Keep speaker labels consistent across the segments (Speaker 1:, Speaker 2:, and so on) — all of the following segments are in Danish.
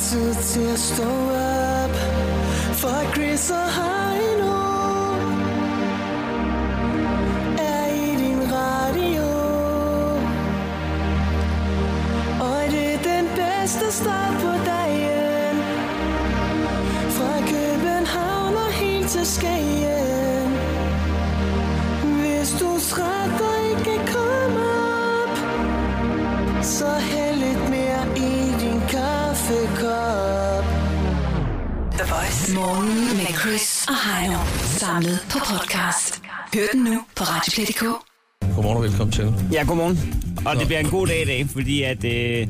Speaker 1: zu zerstört ab For Chris Heino Er i din radio Og det er den bedste start på dagen Fra København og helt til Skagen Hvis du strætter ikke komme op Så hæld lidt mere i din kaffekop
Speaker 2: The Voice. Morgen med Chris og Heino. Samlet på podcast. Hør den nu på Radioplay.dk.
Speaker 3: Godmorgen og velkommen til.
Speaker 4: Ja, godmorgen. Og det bliver en god dag i dag, fordi at... Øh,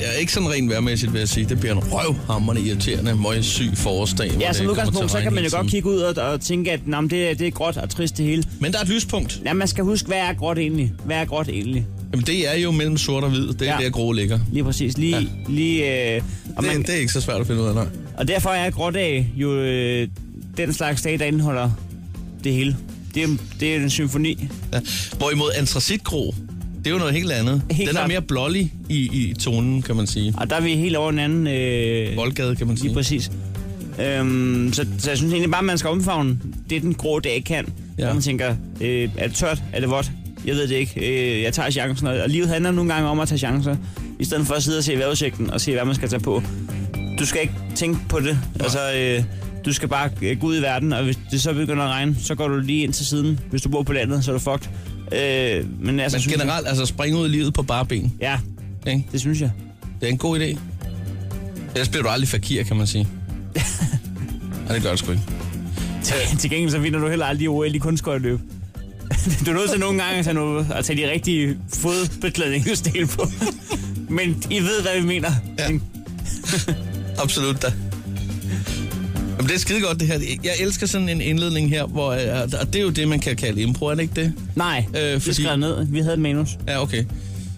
Speaker 3: Ja, ikke sådan rent værmæssigt, vil jeg sige. Det bliver en røvhammerende irriterende, møgsyg forårsdag. hvor
Speaker 4: ja,
Speaker 3: det
Speaker 4: som
Speaker 3: kommer til at
Speaker 4: udgangspunkt, så kan
Speaker 3: regne
Speaker 4: man jo
Speaker 3: hele
Speaker 4: godt
Speaker 3: tiden.
Speaker 4: kigge ud og, og tænke, at nå, men det, er- det er gråt og trist det hele.
Speaker 3: Men der er et lyspunkt.
Speaker 4: Ja, man skal huske, hvad er gråt egentlig? Hvad er gråt egentlig?
Speaker 3: Jamen, det er jo mellem sort og hvid. Det er ja.
Speaker 4: Ja.
Speaker 3: der, grå ligger.
Speaker 4: Lige præcis. Lige, ja. lige, øh, og,
Speaker 3: Det,
Speaker 4: man,
Speaker 3: det, er ikke så svært at finde ud af, nej.
Speaker 4: og derfor er grådag jo øh, den slags dag, der indeholder det hele. Det er, det er en symfoni.
Speaker 3: Ja. Hvorimod antracitgrå, det er jo noget helt andet.
Speaker 4: Helt
Speaker 3: Den er
Speaker 4: klart.
Speaker 3: mere blålig i, i tonen, kan man sige.
Speaker 4: Og der er vi helt over en anden... Øh,
Speaker 3: Mm. Voldgade, kan man
Speaker 4: Lige
Speaker 3: sige.
Speaker 4: præcis. Øhm, så, så jeg synes egentlig bare, at man skal omfavne det, den grå dag kan.
Speaker 3: Ja.
Speaker 4: Ja. Hvor man tænker, øh, er det tørt? Er det vådt? Jeg ved det ikke. Øh, jeg tager chancen. Og og livet handler nogle gange om at tage chancer. I stedet for at sidde og se vejrudsigten og se, hvad man skal tage på. Du skal ikke tænke på det. Altså, øh, du skal bare øh, gå ud i verden, og hvis det så begynder at regne, så går du lige ind til siden. Hvis du bor på landet, så er du fucked. Øh, men altså,
Speaker 3: Men
Speaker 4: synes jeg-
Speaker 3: generelt, altså springe ud i livet på bare ben.
Speaker 4: Ja,
Speaker 3: Ikke?
Speaker 4: det synes jeg.
Speaker 3: Det er en god idé. Ellers bliver du aldrig fakir, kan man sige. Nej, det gør det sgu ikke.
Speaker 4: Til, til gengæld så vinder du heller aldrig OL i kunstskøjteløb. du er nødt til nogle gange at tage, noget, at tage de rigtige fodbeklædningsdel på. Men I ved, hvad vi mener.
Speaker 3: Ja.
Speaker 4: Ja.
Speaker 3: Absolut da. Jamen, det er skide godt det her. Jeg elsker sådan en indledning her, hvor, øh, og det er jo det, man kan kalde impro, er det ikke det?
Speaker 4: Nej,
Speaker 3: Øh,
Speaker 4: øh, fordi... vi
Speaker 3: fordi-
Speaker 4: skrev ned. Vi havde et manus.
Speaker 3: Ja, okay.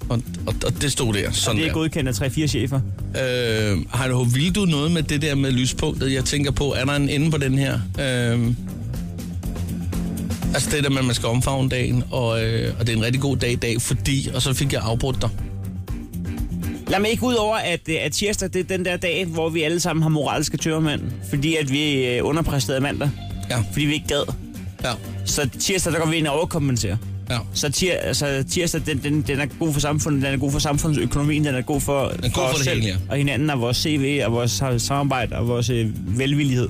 Speaker 3: Og, og, og det stod der, sådan
Speaker 4: Det er godkendt af 3-4 chefer.
Speaker 3: der. Øh, Heino, vil du noget med det der med lyspunktet? Jeg tænker på, er der en ende på den her? Øh, altså det der med, at man skal omfavne dagen, og, øh, og det er en rigtig god dag i dag, fordi, og så fik jeg afbrudt dig.
Speaker 4: Lad mig ikke ud over, at, øh, at tirsdag det er den der dag, hvor vi alle sammen har moralske tørmænd. Fordi at vi øh, underpræsterede mandag.
Speaker 3: Ja,
Speaker 4: Fordi vi ikke gad.
Speaker 3: ja,
Speaker 4: Så tirsdag, der går vi ind og overkompenserer.
Speaker 3: ja.
Speaker 4: Så tir, altså, tirsdag, den, den, den er god for samfundet, den er god for samfundsøkonomien, den er god for,
Speaker 3: er god for det hele, ja.
Speaker 4: og hinanden, og vores CV, og vores sam- samarbejde, og vores øh, velvillighed.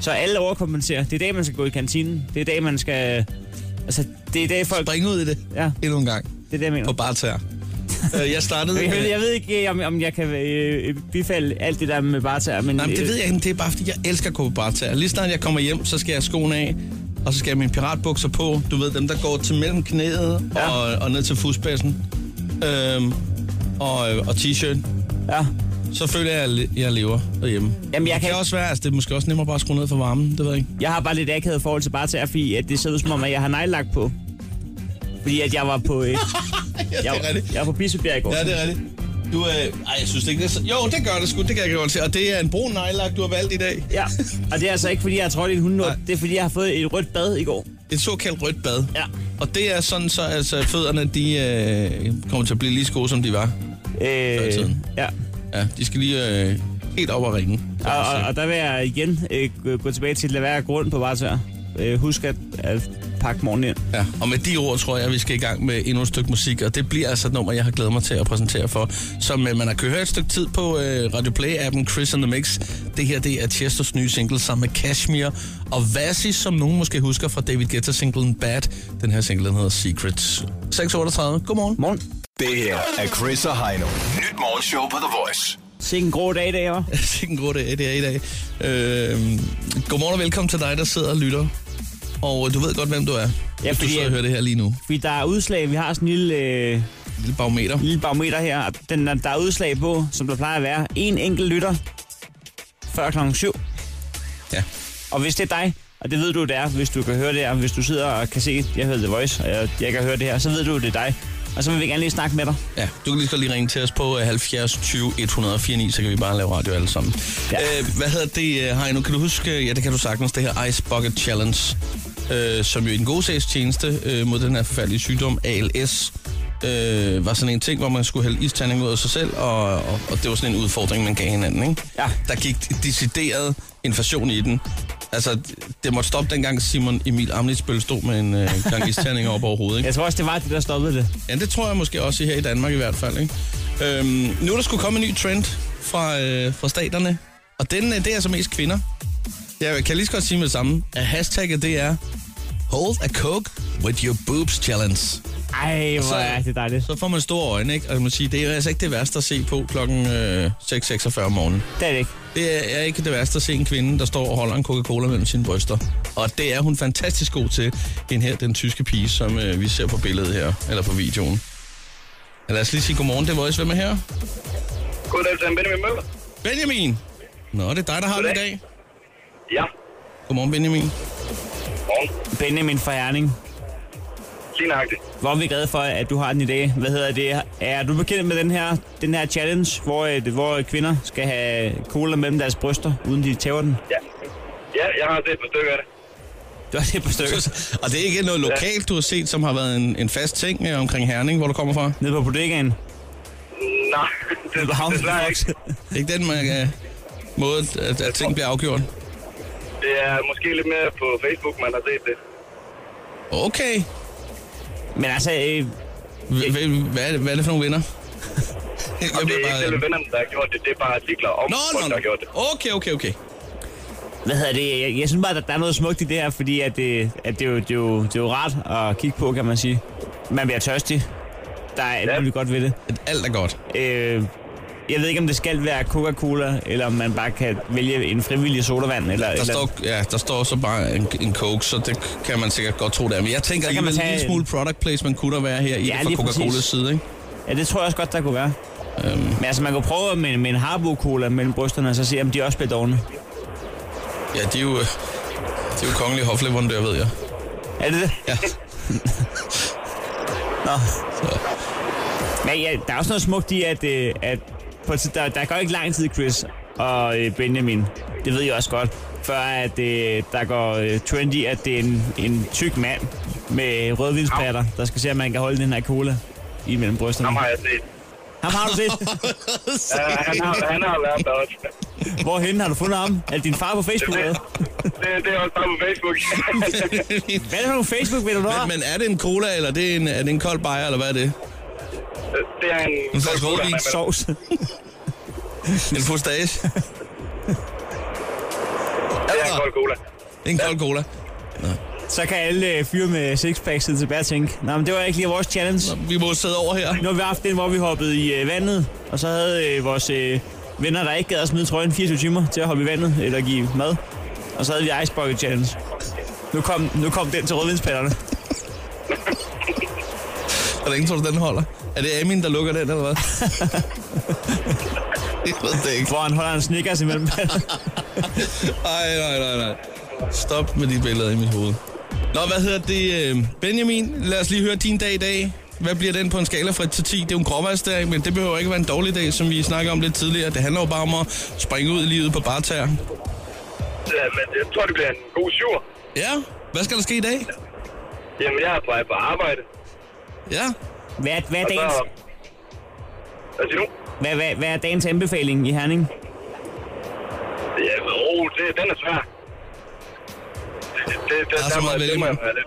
Speaker 4: Så alle overkompenserer. Det er i dag, man skal gå i kantinen. Det er i dag, man skal... Altså, det er i dag, folk...
Speaker 3: Spring ud i det
Speaker 4: Ja,
Speaker 3: endnu en gang
Speaker 4: det er det, jeg mener.
Speaker 3: på bare tær. Øh, jeg startede...
Speaker 4: Jeg
Speaker 3: med-
Speaker 4: ved, jeg ved ikke, øh, om, om jeg kan øh, øh, bifalde alt det der med barter, men... øh,
Speaker 3: Nej, men det ved jeg ikke, men det er bare fordi, jeg elsker at gå på barter. Lige snart jeg kommer hjem, så skal jeg have skoene af, og så skal jeg have mine piratbukser på. Du ved, dem der går til mellem knæet ja.
Speaker 4: Ja.
Speaker 3: og, og ned til fodspidsen. Øhm, og, og t-shirt.
Speaker 4: Ja.
Speaker 3: Så føler jeg, at jeg le- jeg lever derhjemme.
Speaker 4: Jamen, jeg
Speaker 3: det
Speaker 4: kan
Speaker 3: kan
Speaker 4: ikke-
Speaker 3: også være, altså, det er måske også nemmere bare at skrue ned for varmen, det ved jeg ikke.
Speaker 4: Jeg har bare lidt akavet forhold til barter, fordi at det ser ud som om, at jeg har nejlagt på. Fordi at jeg var på... Øh,
Speaker 3: Ja, det er
Speaker 4: jeg,
Speaker 3: rigtigt.
Speaker 4: jeg var på Bispebjerg i går.
Speaker 3: Ja, det er rigtigt. Du, øh, ej, jeg synes det ikke, det er så... Jo, det gør det sgu, det kan jeg godt se. Og det er en brun nejlak, du har valgt i dag.
Speaker 4: Ja, og det er altså ikke, fordi jeg har trådt i en hundelort.
Speaker 3: Nej.
Speaker 4: Det er, fordi jeg har fået et rødt bad i går.
Speaker 3: Et såkaldt rødt bad.
Speaker 4: Ja.
Speaker 3: Og det er sådan, så altså, fødderne de, øh, kommer til at blive lige så gode, som de var. i
Speaker 4: Øh,
Speaker 3: tiden.
Speaker 4: ja.
Speaker 3: Ja, de skal lige øh, helt op og ringe.
Speaker 4: Og, og, og, der vil jeg igen øh, gå- gå tilbage til at lade være grund på barter. Øh, husk at, at pakke morgen ind.
Speaker 3: Ja, og med de ord tror jeg, at vi skal i gang med endnu et stykke musik, og det bliver altså et nummer, jeg har glædet mig til at præsentere for, som øh, man har kunnet høre et stykke tid på øh, Radio Play-appen Chris and the Mix. Det her, det er Chesters nye single sammen med Cashmere og Vassi, som nogen måske husker fra David Guetta-singlen Bad. Den her single, den hedder Secrets. 6.38, godmorgen.
Speaker 4: Morgen.
Speaker 5: Det her er Chris og Heino. Nyt morgenshow på The Voice.
Speaker 4: Se en grå dag i dag, hva'?
Speaker 3: Sikke en god dag, det er i dag. Øh, godmorgen og velkommen til dig, der sidder og lytter. Og du ved godt, hvem du er, ja, hvis du
Speaker 4: fordi
Speaker 3: sidder og
Speaker 4: jeg-
Speaker 3: hører det her lige nu.
Speaker 4: Fordi der er udslag. Vi har sådan en lille, øh,
Speaker 3: Lille barometer.
Speaker 4: lille barometer her. og Den, er- der er udslag på, som der plejer at være. En enkelt lytter. Før klokken 7.
Speaker 3: Ja.
Speaker 4: Og hvis det er dig, og det ved du, det er, hvis du kan høre det her, hvis du sidder og kan se, jeg hedder The Voice, og jeg, jeg kan høre det her, så ved du, det er dig. Og så vil vi gerne lige snakke med dig.
Speaker 3: Ja, du kan lige så godt lige ringe til os på øh, 70 20 149, så kan vi bare lave radio alle sammen. Ja.
Speaker 4: Ja.
Speaker 3: Øh, hvad hedder det, øh, Heino? Kan du huske, øh, ja det kan du sagtens, det her Ice Bucket Challenge, øh, som jo er en god sagstjeneste øh, mod den her forfærdelige sygdom, ALS, øh, var sådan en ting, hvor man skulle hælde isterning ud af sig selv, og, og, og det var sådan en udfordring, man gav hinanden, ikke?
Speaker 4: Ja.
Speaker 3: Der gik decideret inflation i den. Altså, det måtte stoppe dengang Simon Emil Amnitsbøl stod med en øh, gang isterning op over hovedet, ikke?
Speaker 4: Jeg tror også, det var det, der stoppede det.
Speaker 3: Ja, det tror jeg måske også her i Danmark i hvert fald. Ikke? Øhm, nu er der skulle komme en ny trend fra, øh, fra staterne, og den, øh, det er altså mest kvinder. Jeg kan lige så godt sige med det samme, at hashtagget det er Hold a Coke with your boobs challenge.
Speaker 4: Ej, hvor
Speaker 3: så-
Speaker 4: er det dejligt.
Speaker 3: Så får man store øjne, ikke? Og man må sige, det er jo altså ikke det værste at se på klokken øh, 6.46 om morgenen.
Speaker 4: Det er det ikke.
Speaker 3: Det er ikke det værste at se en kvinde, der står og holder en Coca-Cola mellem sine bryster. Og det er hun fantastisk god til, den her, den tyske pige, som øh, vi ser på billedet her, eller på videoen. Ja, Lad os lige sige godmorgen, det er Voice. Hvem er her?
Speaker 6: Goddag, Søren Benjamin Møller.
Speaker 3: Benjamin! Nå, det er dig, der har det i
Speaker 6: Goddag.
Speaker 3: dag.
Speaker 6: Ja.
Speaker 3: Godmorgen, Benjamin.
Speaker 6: Morgen.
Speaker 4: Benjamin fra Herning.
Speaker 6: Lige nøjagtigt.
Speaker 4: Hvor er vi glade for, at du har den i dag. Hvad hedder det? Er du bekendt med den her, den her challenge, hvor, øh, det- hvor kvinder skal have cola mellem deres bryster, uden de tæver den?
Speaker 6: Ja. Ja, jeg har set på stykker af det.
Speaker 4: Du har set på stykker.
Speaker 3: Og det er ikke noget lokalt, du har set, som har været en, en fast ting øh, omkring Herning, hvor du kommer fra?
Speaker 4: Nede på bodegaen.
Speaker 6: Nej, det,
Speaker 4: Ved havnen.
Speaker 6: desværre ikke.
Speaker 3: Det er ikke den man, øh, måde, at, at ting bliver afgjort?
Speaker 6: Det er måske lidt mere på Facebook, altså, man har set det.
Speaker 3: Okay.
Speaker 4: Men altså, øh,
Speaker 3: H- h- Hvad er det, hvad er det for nogle vinder? Jeg
Speaker 6: Og det
Speaker 3: bliver
Speaker 6: er ikke
Speaker 3: bare-
Speaker 6: selv vennerne, der har gjort det. Det er bare artikler om
Speaker 3: Nå,
Speaker 6: folk,
Speaker 3: nå,
Speaker 6: der har gjort det.
Speaker 3: nå. Okay, okay, okay.
Speaker 4: hvad hedder det? Jeg, jeg synes bare, at der er noget smukt i det her, fordi at det, at det, er, jo, det, er, jo, det er jo rart at kigge på, kan man sige. Man bliver tørstig. Der er alt
Speaker 6: Ja.
Speaker 4: muligt godt ved det.
Speaker 3: At Alt er godt.
Speaker 4: Øh, jeg ved ikke, om det skal være Coca-Cola, eller om man bare kan vælge en frivillig sodavand. Eller,
Speaker 3: Der
Speaker 4: eller...
Speaker 3: står, ja, der står så bare en, en coke, så det kan man sikkert godt tro, det er. Men jeg tænker,
Speaker 4: Så
Speaker 3: at
Speaker 4: kan man
Speaker 3: en
Speaker 4: tage
Speaker 3: lille
Speaker 4: en-
Speaker 3: smule product placement kunne der være her i
Speaker 4: Ja,
Speaker 3: det fra
Speaker 4: lige præcis.
Speaker 3: Coca-Colas side, ikke?
Speaker 4: Ja, det tror jeg også godt, der kunne være. Øhm. Men altså, man kunne prøve med, med en Harbo-cola mellem brysterne, og så se, om de også bliver dogne.
Speaker 3: Ja, de er jo, øh, de er jo kongelige hofleverandører, ved jeg.
Speaker 4: Er det det?
Speaker 3: Ja.
Speaker 4: Nå. Men ja, der er også noget smukt i, at, øh, at på, et tid- der, der går ikke lang tid, Chris og øh, Benjamin. Det ved jeg også godt. Før at øh, der går øh, trendy, at det er en, en tyk mand med rødvinsplatter, der skal se, om man kan holde den her cola i mellem brysterne.
Speaker 6: Ham har jeg set.
Speaker 4: Ham har du set.
Speaker 6: Ja, han, har, han har været der også.
Speaker 4: Hvorhenne har du fundet ham? Er det din far på Facebook? eller?
Speaker 6: Det,
Speaker 3: Øh,
Speaker 6: det er også bare på Facebook.
Speaker 4: Hvad er det for nogle Facebook-venner, du har?
Speaker 3: Men, men er det en cola, eller er det en, er det en kold bajer, eller hvad er det?
Speaker 6: det er en...
Speaker 3: En slags rødvin.
Speaker 6: Men-
Speaker 4: Sovs.
Speaker 3: En postage?
Speaker 6: Det er en kold cola.
Speaker 3: En kold cola.
Speaker 4: Så kan alle øh, fyre med sixpack sidde tilbage og tænke, nej, men det var ikke lige vores challenge.
Speaker 3: Vi må sidde over her.
Speaker 4: Nu har vi haft den, hvor vi hoppede i øh, vandet, og så havde øh, vores øh, venner, der ikke gad at smide trøjen 24 timer til at hoppe i vandet eller give mad. Og så havde vi Ice Bucket Challenge. Nu kom, nu kom den til rødvinspallerne.
Speaker 3: Hvor længe tror du, den holder? Er det Amin, der lukker den, eller hvad? jeg ved det ikke.
Speaker 4: Hvor han holder en Snickers imellem pallerne.
Speaker 3: Ej, nej, nej, nej. Stop med de billeder i mit hoved. Nå, hvad hedder det? øh, Benjamin, lad os lige høre din dag i dag. Hvad bliver den på en skala fra 1 til 10? Det er jo en gråvejrsdag, men det behøver ikke være en dårlig dag, som vi snakkede om lidt tidligere. Det handler jo bare om at springe ud i livet på bare tær.
Speaker 6: Ja, men jeg tror, det bliver en god syver.
Speaker 3: Ja, hvad skal der ske i dag?
Speaker 6: Jamen, jeg er på vej på arbejde.
Speaker 3: Ja,
Speaker 4: Hvad, er- hvad, er
Speaker 6: Og så...
Speaker 4: dagens,
Speaker 6: Hvad siger du?
Speaker 4: hvad, hvad, hvad er dagens anbefaling i Herning?
Speaker 6: Ja, oh, det, den er svær. Det, det, der,
Speaker 3: er så meget at vælge
Speaker 6: det må jeg
Speaker 3: imellem.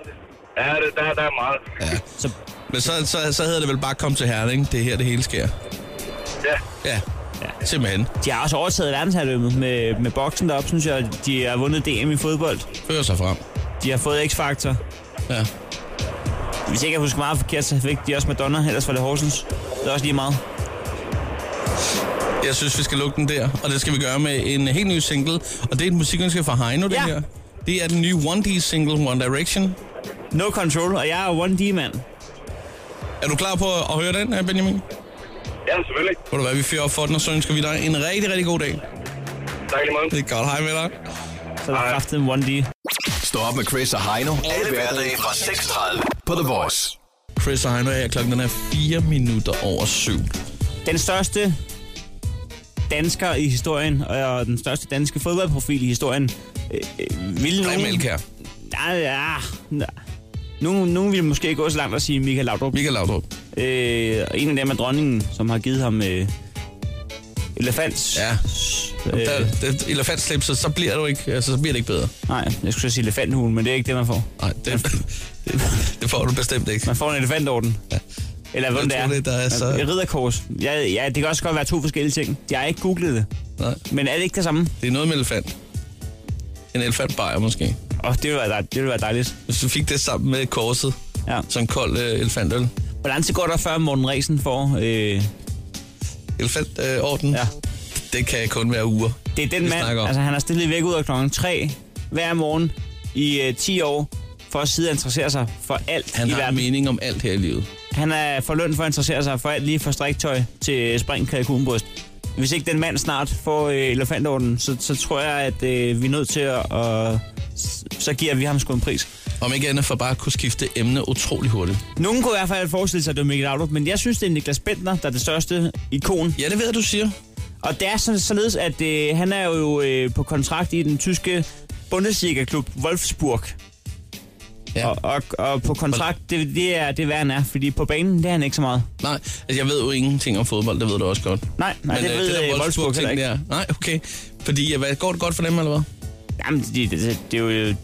Speaker 6: være lidt. Ja, det, der, der er meget.
Speaker 4: Så
Speaker 3: men så, så, så hedder det vel bare kom til Herning. Det er her, det hele sker.
Speaker 6: Ja,
Speaker 3: Ja, ja. simpelthen.
Speaker 4: de har også overtaget verdensherredømmet med, med boksen deroppe, synes jeg. De har vundet DM i fodbold.
Speaker 3: Fører sig frem.
Speaker 4: De har fået X-Factor.
Speaker 3: Ja.
Speaker 4: Hvis ikke jeg husker meget forkert, så fik de også Madonna, ellers var det Horsens. Det er også lige meget.
Speaker 3: Jeg synes, vi skal lukke den der, og det skal vi gøre med en helt ny single. Og det er et musikønske fra Heino, det
Speaker 4: Ja.
Speaker 3: her. Det er den nye 1D-single, One Direction.
Speaker 4: No control, og jeg er 1D-mand.
Speaker 3: Er du klar på at høre den, øh, Benjamin?
Speaker 6: ja selvfølgelig.
Speaker 3: Ved du hvad, vi fyrer op for den, og så ønsker vi dig en rigtig, rigtig god dag.
Speaker 6: Tak i lige måde.
Speaker 3: Det er godt, hej med dig.
Speaker 4: Så der er kraftet en 1D.
Speaker 5: Stå op med Chris og Heino. Alle hverdage fra 6.30 på The Voice.
Speaker 3: Chris og Heino er her, klokken den er 4 minutter over syv.
Speaker 4: Den største dansker i historien, og den største danske fodboldprofil i historien, øh, øh, vil
Speaker 3: Nej,
Speaker 4: nogen...
Speaker 3: Melkær.
Speaker 4: Nej, ja, nej. Nogen, nogen vil måske gå så langt og sige Michael Laudrup.
Speaker 3: Michael Laudrup.
Speaker 4: Øh, og en af dem er dronningen, som har givet ham øh, elefants.
Speaker 3: Ja.
Speaker 4: Øh,
Speaker 3: Der, det, elefantslips, så bliver, du ikke, altså, så bliver det ikke bedre.
Speaker 4: nej, jeg skulle så sige elefanthulen, men det er ikke det, man får.
Speaker 3: Nej, det, det, det får du bestemt ikke.
Speaker 4: Man får en elefantorden.
Speaker 3: Ja.
Speaker 4: Eller hvad
Speaker 3: Jeg
Speaker 4: det
Speaker 3: tror,
Speaker 4: er.
Speaker 3: det, der er så-
Speaker 4: Et ridderkors. Ja, ja, det kan også godt være to forskellige ting. Jeg har ikke googlet det.
Speaker 3: Nej,
Speaker 4: Men er det ikke det samme?
Speaker 3: det er noget med elefant. En elefantbajer måske.
Speaker 4: Åh, oh, det, ville være dejligt. det ville være dejligt.
Speaker 3: Hvis du fik det sammen med korset,
Speaker 4: Ja.
Speaker 3: sådan en kold øh, elefantøl.
Speaker 4: Hvor lang tid går der, før Morten Resen får... Øh,
Speaker 3: Elefantorden, øh, orden,
Speaker 4: ja.
Speaker 3: det kan kun være uger.
Speaker 4: Det er den
Speaker 3: Vi
Speaker 4: mand,
Speaker 3: snakker om.
Speaker 4: altså han har stillet væk ud af klokken 3 hver morgen i øh, 10 år, for at sidde og interessere sig for alt
Speaker 3: Han
Speaker 4: i
Speaker 3: har
Speaker 4: verden.
Speaker 3: mening om alt her i livet.
Speaker 4: Han er for løn for at interessere sig for alt lige fra striktøj til spring kalkunbryst. Hvis ikke den mand snart får øh, elefantorden, så, så tror jeg, at øh, vi er nødt til at... Og, så giver vi ham sgu en pris.
Speaker 3: Om ikke andet for bare at kunne skifte emne utrolig hurtigt.
Speaker 4: Nogen kunne i hvert fald forestille sig, at det var Mikkel Laudrup, men jeg synes, det er Niklas Bentner, der er det største ikon.
Speaker 3: Ja, det ved jeg, du siger.
Speaker 4: Og det er sådan- således, at øh, han er jo øh, på kontrakt i den tyske Bundesliga-klub Wolfsburg.
Speaker 3: Ja.
Speaker 4: Og, og, og på kontrakt, det, det er det, er, hvad han er, fordi på banen, det er han ikke så meget.
Speaker 3: Nej, altså jeg ved jo ingenting om fodbold, det ved du også godt. øh,
Speaker 4: Nej, nej det ved det Wolfsburg, Wolfsburg heller ikke.
Speaker 3: der. Nej, okay. Fordi, ja, hvad, går det godt for dem, eller hvad?
Speaker 4: Jamen, det, det, det, det er jo... øh,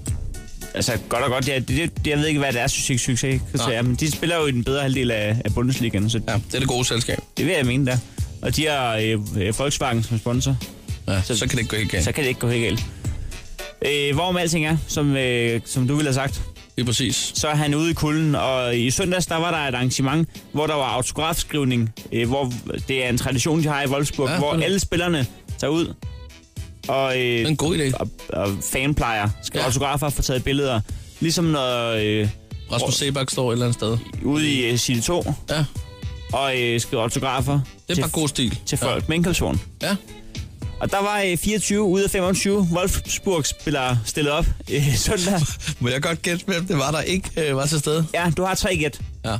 Speaker 4: Altså, godt og godt, det, det, det, jeg ved ikke, hvad det er, succes, succes. Så,
Speaker 3: Nej.
Speaker 4: ja, men de spiller jo i den bedre halvdel af, af Bundesligaen, så
Speaker 3: Ja, det er det gode selskab.
Speaker 4: det vil jeg mene der. Og de har øh, øh, Volkswagen som sponsor.
Speaker 3: Ja, så, så kan det ikke gå helt galt.
Speaker 4: så kan det ikke gå helt galt. Øh, hvorom alting er, som, øh, som du ville have sagt,
Speaker 3: Det er præcis.
Speaker 4: så er han ude i kulden, og i søndags der var der et arrangement, hvor der var autografskrivning, øh, hvor det er en tradition, de har i Wolfsburg,
Speaker 3: Ja,
Speaker 4: ja, hvor
Speaker 3: det er det.
Speaker 4: alle spillerne tager ud, og,
Speaker 3: Det
Speaker 4: øh,
Speaker 3: er en god idé.
Speaker 4: og, og fanplejer skal
Speaker 3: Ja.
Speaker 4: ja. autografer få taget billeder, ligesom når øh,
Speaker 3: Rasmus Sebak står et eller andet sted.
Speaker 4: ude i øh, City 2,
Speaker 3: Ja,
Speaker 4: og øh, skriver autografer
Speaker 3: det er
Speaker 4: til,
Speaker 3: bare god stil.
Speaker 4: til folk ja. med indkøbsvogn.
Speaker 3: Ja. ja.
Speaker 4: Og der var øh, 24 ud af 25 Wolfsburg-spillere stillet op øh, søndag.
Speaker 3: Må jeg godt gætte, hvem det var, der ikke øh, var til stede?
Speaker 4: Ja, du har tre gæt.
Speaker 3: Ja.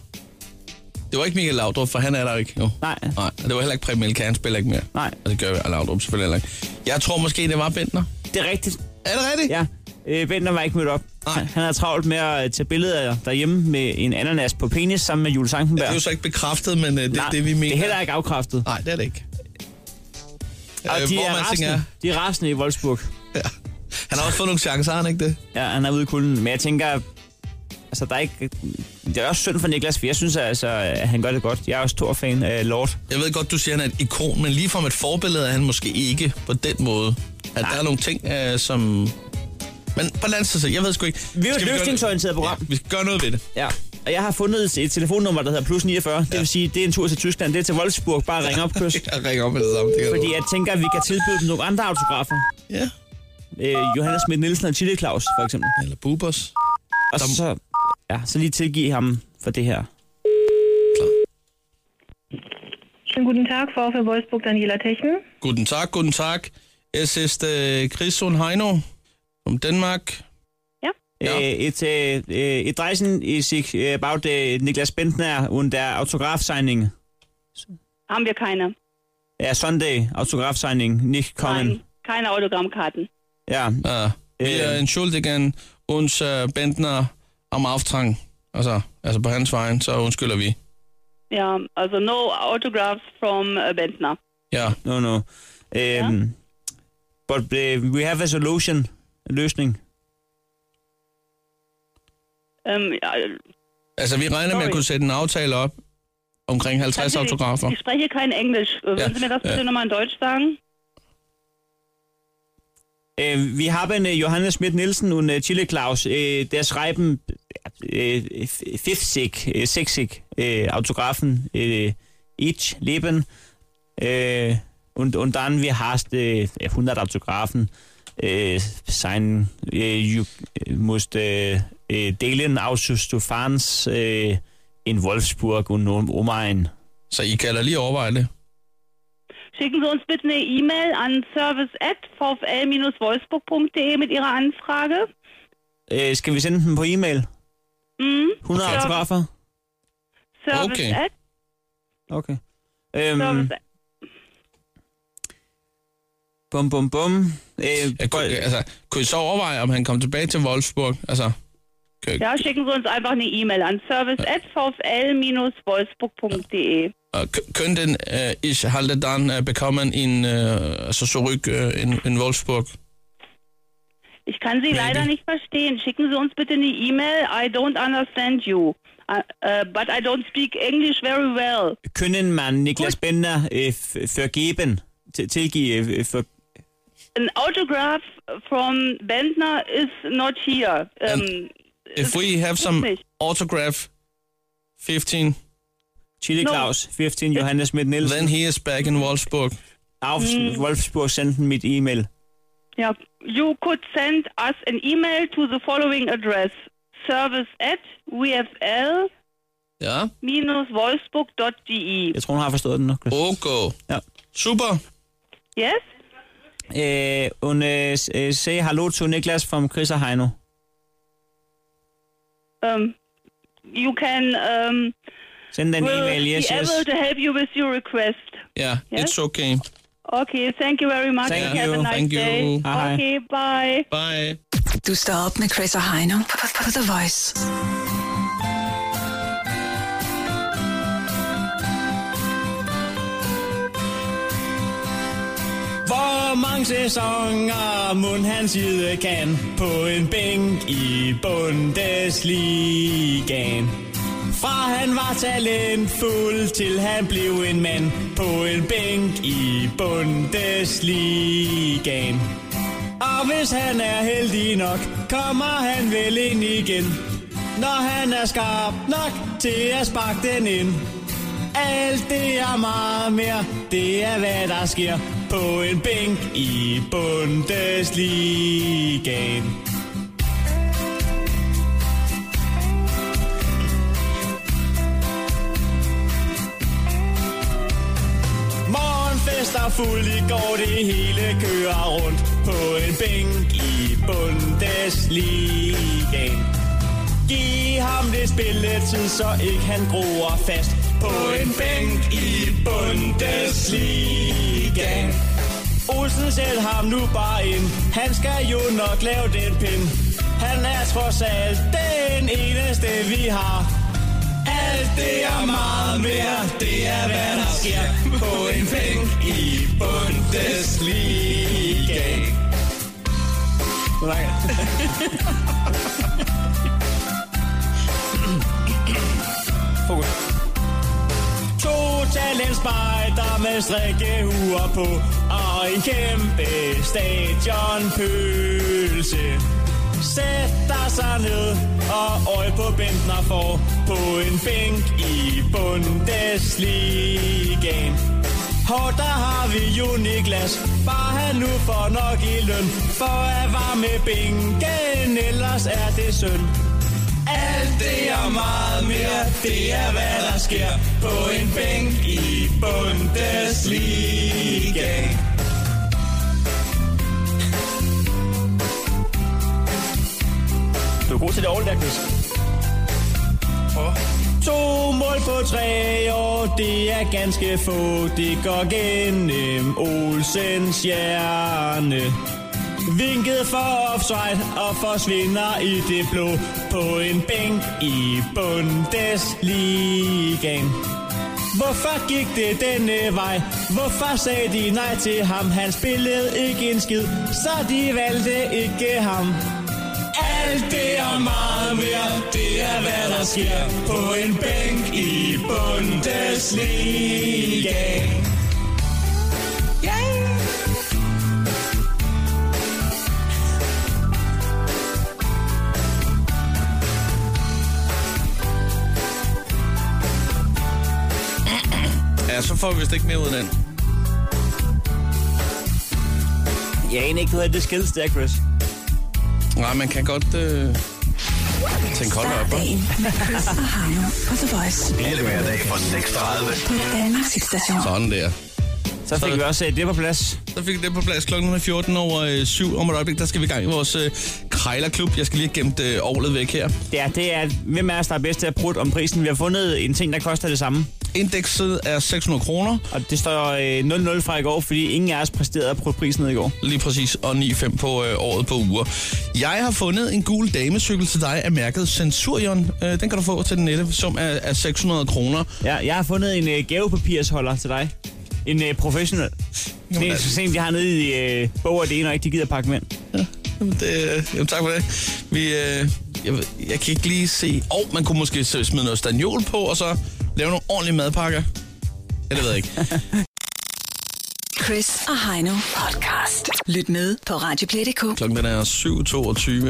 Speaker 3: Det var ikke Michael Laudrup, for han er der jo ikke nu.
Speaker 4: Nej.
Speaker 3: Nej, og det var heller ikke Præm Mielke, han spiller ikke mere.
Speaker 4: Nej.
Speaker 3: Og det gør Laudrup selvfølgelig heller ikke. Jeg tror måske, det var Bentner.
Speaker 4: Det er rigtigt.
Speaker 3: Er det rigtigt?
Speaker 4: Ja, øh, Bender var ikke mødt op.
Speaker 3: Nej.
Speaker 4: Han, han havde travlt med at øh, tage billeder derhjemme med en ananas på penis sammen med Jules
Speaker 3: Det
Speaker 4: Sankenberg.
Speaker 3: er jo så ikke bekræftet, men øh, det
Speaker 4: Nej,
Speaker 3: er det, vi mener.
Speaker 4: Det er heller ikke afkræftet.
Speaker 3: Nej, det er det ikke.
Speaker 4: Og
Speaker 3: Øh,
Speaker 4: de,
Speaker 3: hvor
Speaker 4: er
Speaker 3: man
Speaker 4: rasende.
Speaker 3: tænker,
Speaker 4: de er rasende i Wolfsburg.
Speaker 3: Ja. Han har også fået nogle chancer, har han ikke det?
Speaker 4: Ja, han er ude i kulden. Men jeg tænker, altså der er ikke... Det er også synd for Niklas, for jeg synes altså, at han gør det godt. Jeg er også stor fan af Lord.
Speaker 3: Jeg ved godt, du siger, han er et ikon, men lige fra et forbillede er han måske ikke på den måde. At
Speaker 4: Nej.
Speaker 3: der er nogle ting, øh, som... Men på den anden side, så- jeg ved sgu ikke...
Speaker 4: Vi er jo
Speaker 3: Skal
Speaker 4: et
Speaker 3: gøre-
Speaker 4: løsningsorienteret program.
Speaker 3: Ja, vi skal gøre noget ved det.
Speaker 4: Ja. Og jeg har fundet et telefonnummer, der hedder plus 49. Det vil sige, det er en tur til Tyskland. Det er til Wolfsburg. Bare ring op, Chris.
Speaker 3: Jeg ringer op med det samme. Det kan
Speaker 4: Fordi
Speaker 3: du-
Speaker 4: jeg tænker, at vi kan tilbyde dem nogle andre autografer.
Speaker 3: Ja.
Speaker 4: Øh, Johannes Schmidt Nielsen og Chile Claus, for eksempel.
Speaker 3: Eller Bubers.
Speaker 4: Og
Speaker 3: Der-
Speaker 4: så, ja, så lige tilgive ham for det her.
Speaker 7: Schönen guten Tag, VfL Wolfsburg, Daniela Techen.
Speaker 3: Guten Tag, guten Tag. Es ist äh, Christian Heino from Denmark. Ja.
Speaker 4: Ja. Øh, et, øh, øh, et rejsen i sig øh, about øh, Niklas Bentner und der Autografsigning.
Speaker 8: Haben wir keine.
Speaker 4: Ja, Sunday Autografsigning, nicht kommen.
Speaker 8: Nein, keine Autogrammkarten.
Speaker 4: Ja,
Speaker 3: Ja. Wir
Speaker 4: Øh.
Speaker 3: entschuldigen uns äh, Bentner am Auftrag. Altså, altså på hans vejen, så undskylder vi.
Speaker 8: Ja, also no autographs from äh, Bentner.
Speaker 3: Ja,
Speaker 4: no, no. Øhm,
Speaker 8: Ja.
Speaker 4: But øh, we have a solution, en løsning.
Speaker 8: Ähm, ja,
Speaker 3: altså vi regner med at
Speaker 8: Sorry.
Speaker 3: kunne sætte en aftale op omkring 50
Speaker 8: Entschuldigung,
Speaker 3: autografer.
Speaker 8: Ich spreche kein Englisch. Äh, Würden
Speaker 3: Ja,
Speaker 8: Sie mir das
Speaker 3: ja.
Speaker 8: bitte nochmal in Deutsch sagen?
Speaker 4: Øh, vi har en øh, Johannes Schmidt Nielsen und øh, Chile Claus, øh, der schreiben øh, fifsig, øh, sexig øh, autografen øh, each leben øh, und, und dann wir hast øh, 100 autografen øh, sein øh, you musst øh, øh, delen aus du fans øh, in Wolfsburg und um, Omegn.
Speaker 3: Så I kan da lige overveje det.
Speaker 8: Schicken Sie uns bitte eine E-Mail an service.vfl-wolfsburg.de mit Ihrer Anfrage.
Speaker 4: Øh, skal vi sende dem på e-mail?
Speaker 8: Mhm.
Speaker 4: 100
Speaker 8: Okay.
Speaker 4: autografer?
Speaker 8: Service
Speaker 3: Okay.
Speaker 8: at,
Speaker 4: Okay. Øhm,
Speaker 8: service at.
Speaker 4: bum, bum, bum. Øh,
Speaker 3: Jeg kunne,
Speaker 4: går-
Speaker 3: altså, kunne I så overveje, om han kom tilbage til Wolfsburg? Altså, Okay.
Speaker 8: Ja, schicken Sie uns einfach eine E-Mail an service@vfl-wolfsburg.de.
Speaker 3: Äh, k- Könnten äh, ich halte dann äh, bekommen in äh, also zurück äh, in, in Wolfsburg?
Speaker 8: Ich kann Sie leider nicht verstehen. Schicken Sie uns bitte eine E-Mail. I don't understand you. Uh, uh, but I don't speak English very well.
Speaker 4: Können man Niklas Bender øh, f- forgeben, til- tilgive, øh, for,
Speaker 8: An autograph from Bentner is not here. Um,
Speaker 3: If we have some
Speaker 8: Richtig.
Speaker 3: autograph 15,
Speaker 4: Chili
Speaker 8: Nå.
Speaker 4: Claus, 15 Johannes Schmidt Nielsen,
Speaker 3: then he is back in Wolfsburg.
Speaker 4: Auf Wolfsburg senden mit e-mail.
Speaker 8: yeah, you could send us an email to the following address: service at
Speaker 3: Ja,
Speaker 8: vfl-wolfsburg.de.
Speaker 4: Jeg tror, hun har forstået den nu. Chris.
Speaker 3: okay.
Speaker 4: Ja.
Speaker 3: Super.
Speaker 8: Yes.
Speaker 4: Øh, hun øh, s- øh, sagde hallo til Niklas fra Chris og Heino.
Speaker 8: Um, you can. Um,
Speaker 4: Send den
Speaker 8: we'll
Speaker 4: e-mail, yes,
Speaker 8: be
Speaker 4: yes.
Speaker 8: able to help you with your request.
Speaker 3: Ja,
Speaker 8: Ja.
Speaker 3: it's okay.
Speaker 8: Okay, thank you very much.
Speaker 4: Thank
Speaker 8: Have
Speaker 4: you.
Speaker 8: a nice
Speaker 3: Thank you.
Speaker 8: day.
Speaker 4: Hej.
Speaker 8: Okay, bye.
Speaker 3: Bye.
Speaker 2: Du står op med Chris og Heino på, på, på The Voice.
Speaker 4: Hvor mange sæsoner mund han sidde kan på en bænk i Bundesligaen. Fra han var talentfuld til han blev en mand på en bænk i Bundesligaen. Og hvis han er heldig nok, kommer han vel ind igen. Når han er skarp nok til at sparke den ind. Alt det er meget mere, det er hvad der sker på en bænk i Bundesligaen. Morgenfest og fuld i går, det hele kører rundt på en bænk i Bundesligaen. Giv ham lidt spilletid, så ikke han groer fast på en bænk i Bundesligaen. Olsen sæt ham nu bare ind, han skal jo nok lave den pind. Han er trods alt den eneste, vi har. Alt det er meget mere, det er hvad der sker på en bænk i Bundesligaen. To talentspejder med strikkehuer på Og en kæmpe stadionpølse Sæt dig så ned og øje på Bentner for På en bænk i Bundesligaen Hår, der har vi jo Niklas Bare han nu får nok i løn For at varme bænken, ellers er det synd alt det og meget mere, det er hvad der sker på en bænk i Bundesliga. Du er god til det all der, Chris. To mål på tre år, det er ganske få. Det går gennem Olsens hjerne. Vinket for offside og forsvinder i det blå på en bænk i Bundesligaen. Hvorfor gik det denne vej? Hvorfor sagde de nej til ham? Han spillede ikke en skid, så de valgte ikke ham. Alt det og meget mere, det er hvad der sker på en bænk i Bundesligaen.
Speaker 3: Ja, så får vi vist ikke mere ud af den.
Speaker 4: Jeg aner ikke, du havde det skills der, Chris.
Speaker 3: Nej, man kan godt øh, tænke hold da op. hva'?
Speaker 2: Dagen med Chris og Heino på The Voice.
Speaker 5: Alle hverdage fra 6.30.
Speaker 2: På Danmarks hitstation.
Speaker 3: Sådan der.
Speaker 4: Så fik vi også øh, det på plads.
Speaker 3: Så fik vi det på plads klokken er 14 over øh, 7 om et øjeblik. Der skal vi i gang i vores øh, krejlerklub. Jeg skal lige have gemt øh, ovlet væk her.
Speaker 4: Ja, det er, hvem er os, der er bedst til at prutte om prisen? Vi har fundet en ting, der koster det samme.
Speaker 3: Indekset er 600 kroner,
Speaker 4: Og det står øh, 0-0 fra i går, fordi ingen af os præsterede at prutte prisen ned i går.
Speaker 3: lige præcis, og 9,5 på øh, året på uger. Jeg har fundet en gul damecykel til dig af mærket Centurion. Øh, den kan du få til den nette sum af, af 600 kroner.
Speaker 4: Ja, jeg har fundet en øh, gavepapirsholder til dig. En øh, professionel.
Speaker 3: Nå,
Speaker 4: Det er
Speaker 3: altså.
Speaker 4: så sent, de har nede i øh, bog og det ene, og ikke de gider pakke mænd.
Speaker 3: Jamen, det, øh, jamen, tak for det. Vi, øh, jeg, ved- jeg kan ikke lige se... Og oh, man kunne måske så smide noget stagnol på, og så lave nogle ordentlige madpakker. Ja, det ved jeg ikke.
Speaker 2: Chris og Heino podcast. Lyt med på Radioplay.dk.
Speaker 3: Klokken den er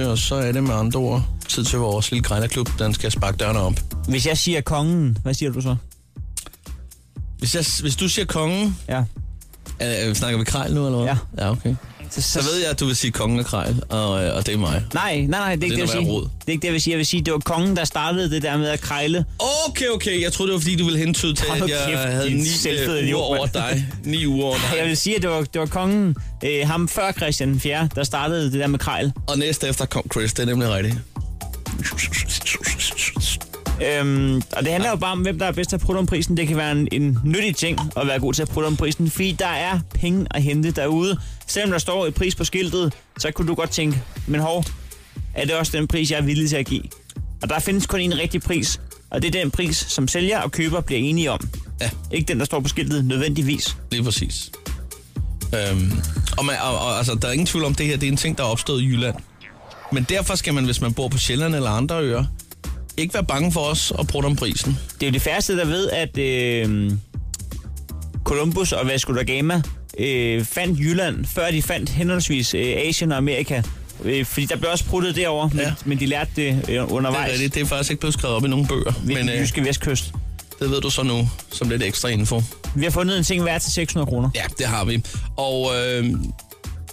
Speaker 3: 7.22, og så er det med andre ord tid til vores lille grejlerklub. Den skal sparke dørene op.
Speaker 4: Hvis jeg siger kongen, hvad siger du så?
Speaker 3: Hvis, jeg, hvis du siger kongen...
Speaker 4: Ja.
Speaker 3: Er, er- snakker vi krejl nu, eller hvad?
Speaker 4: Ja.
Speaker 3: Ja, okay.
Speaker 4: Så,
Speaker 3: Så ved jeg, at du vil sige kongen og krejl, og, øh, og det er mig.
Speaker 4: Nej, nej, nej, det er
Speaker 3: Det
Speaker 4: ikke det,
Speaker 3: er
Speaker 4: jeg vil
Speaker 3: noget
Speaker 4: sige.
Speaker 3: værd rod.
Speaker 4: Det er ikke det, jeg vil sige. Jeg vil sige, det var kongen, der startede det der med at krejle.
Speaker 3: Okay, okay. Jeg troede, det var, fordi du ville hentyde til,
Speaker 4: Hold
Speaker 3: at jeg
Speaker 4: kæft,
Speaker 3: havde
Speaker 4: din
Speaker 3: ni
Speaker 4: selvfede
Speaker 3: øh, uger
Speaker 4: idiot, mand.
Speaker 3: over dig. Ni uger over
Speaker 4: Jeg
Speaker 3: dig.
Speaker 4: vil sige, at det var, det var kongen, øh, ham før Christian den 4., der startede det der med krejl.
Speaker 3: Og næste efter kom Chris. Det er nemlig rigtigt.
Speaker 4: Øhm, og det handler jo bare om, hvem der er bedst til at prutte om prisen. Det kan være en, en nyttig ting at være god til at prutte om prisen, fordi der er penge at hente derude. Selvom der står et pris på skiltet, så kunne du godt tænke, men hov, er det også den pris, jeg er villig til at give? Og der findes kun en rigtig pris, og det er den pris, som sælger og køber bliver enige om.
Speaker 3: Ja.
Speaker 4: Ikke den, der står på skiltet nødvendigvis.
Speaker 3: Lige præcis. Øhm, og, man, og, og altså, der er ingen tvivl om, det her det er en ting, der er opstået i Jylland. Men derfor skal man, hvis man bor på Sjælland eller andre øer, ikke være bange for os og bruge om prisen.
Speaker 4: Det er jo de færreste, der ved, at øh, Columbus og Vasco da Gama øh, fandt Jylland, før de fandt henholdsvis øh, Asien og Amerika. Øh, fordi der blev også pruttet derovre, ja.
Speaker 3: Ja.
Speaker 4: men, men de lærte det øh,
Speaker 3: Det er,
Speaker 4: undervejs
Speaker 3: rigtigt, det er faktisk ikke blevet skrevet op i nogen bøger,
Speaker 4: ved
Speaker 3: men
Speaker 4: den
Speaker 3: øh,
Speaker 4: jyske vestkyst.
Speaker 3: det ved du så nu, som lidt ekstra info.
Speaker 4: Vi har fundet en ting værd til 600 kroner.
Speaker 3: Ja, det har vi. Og øh,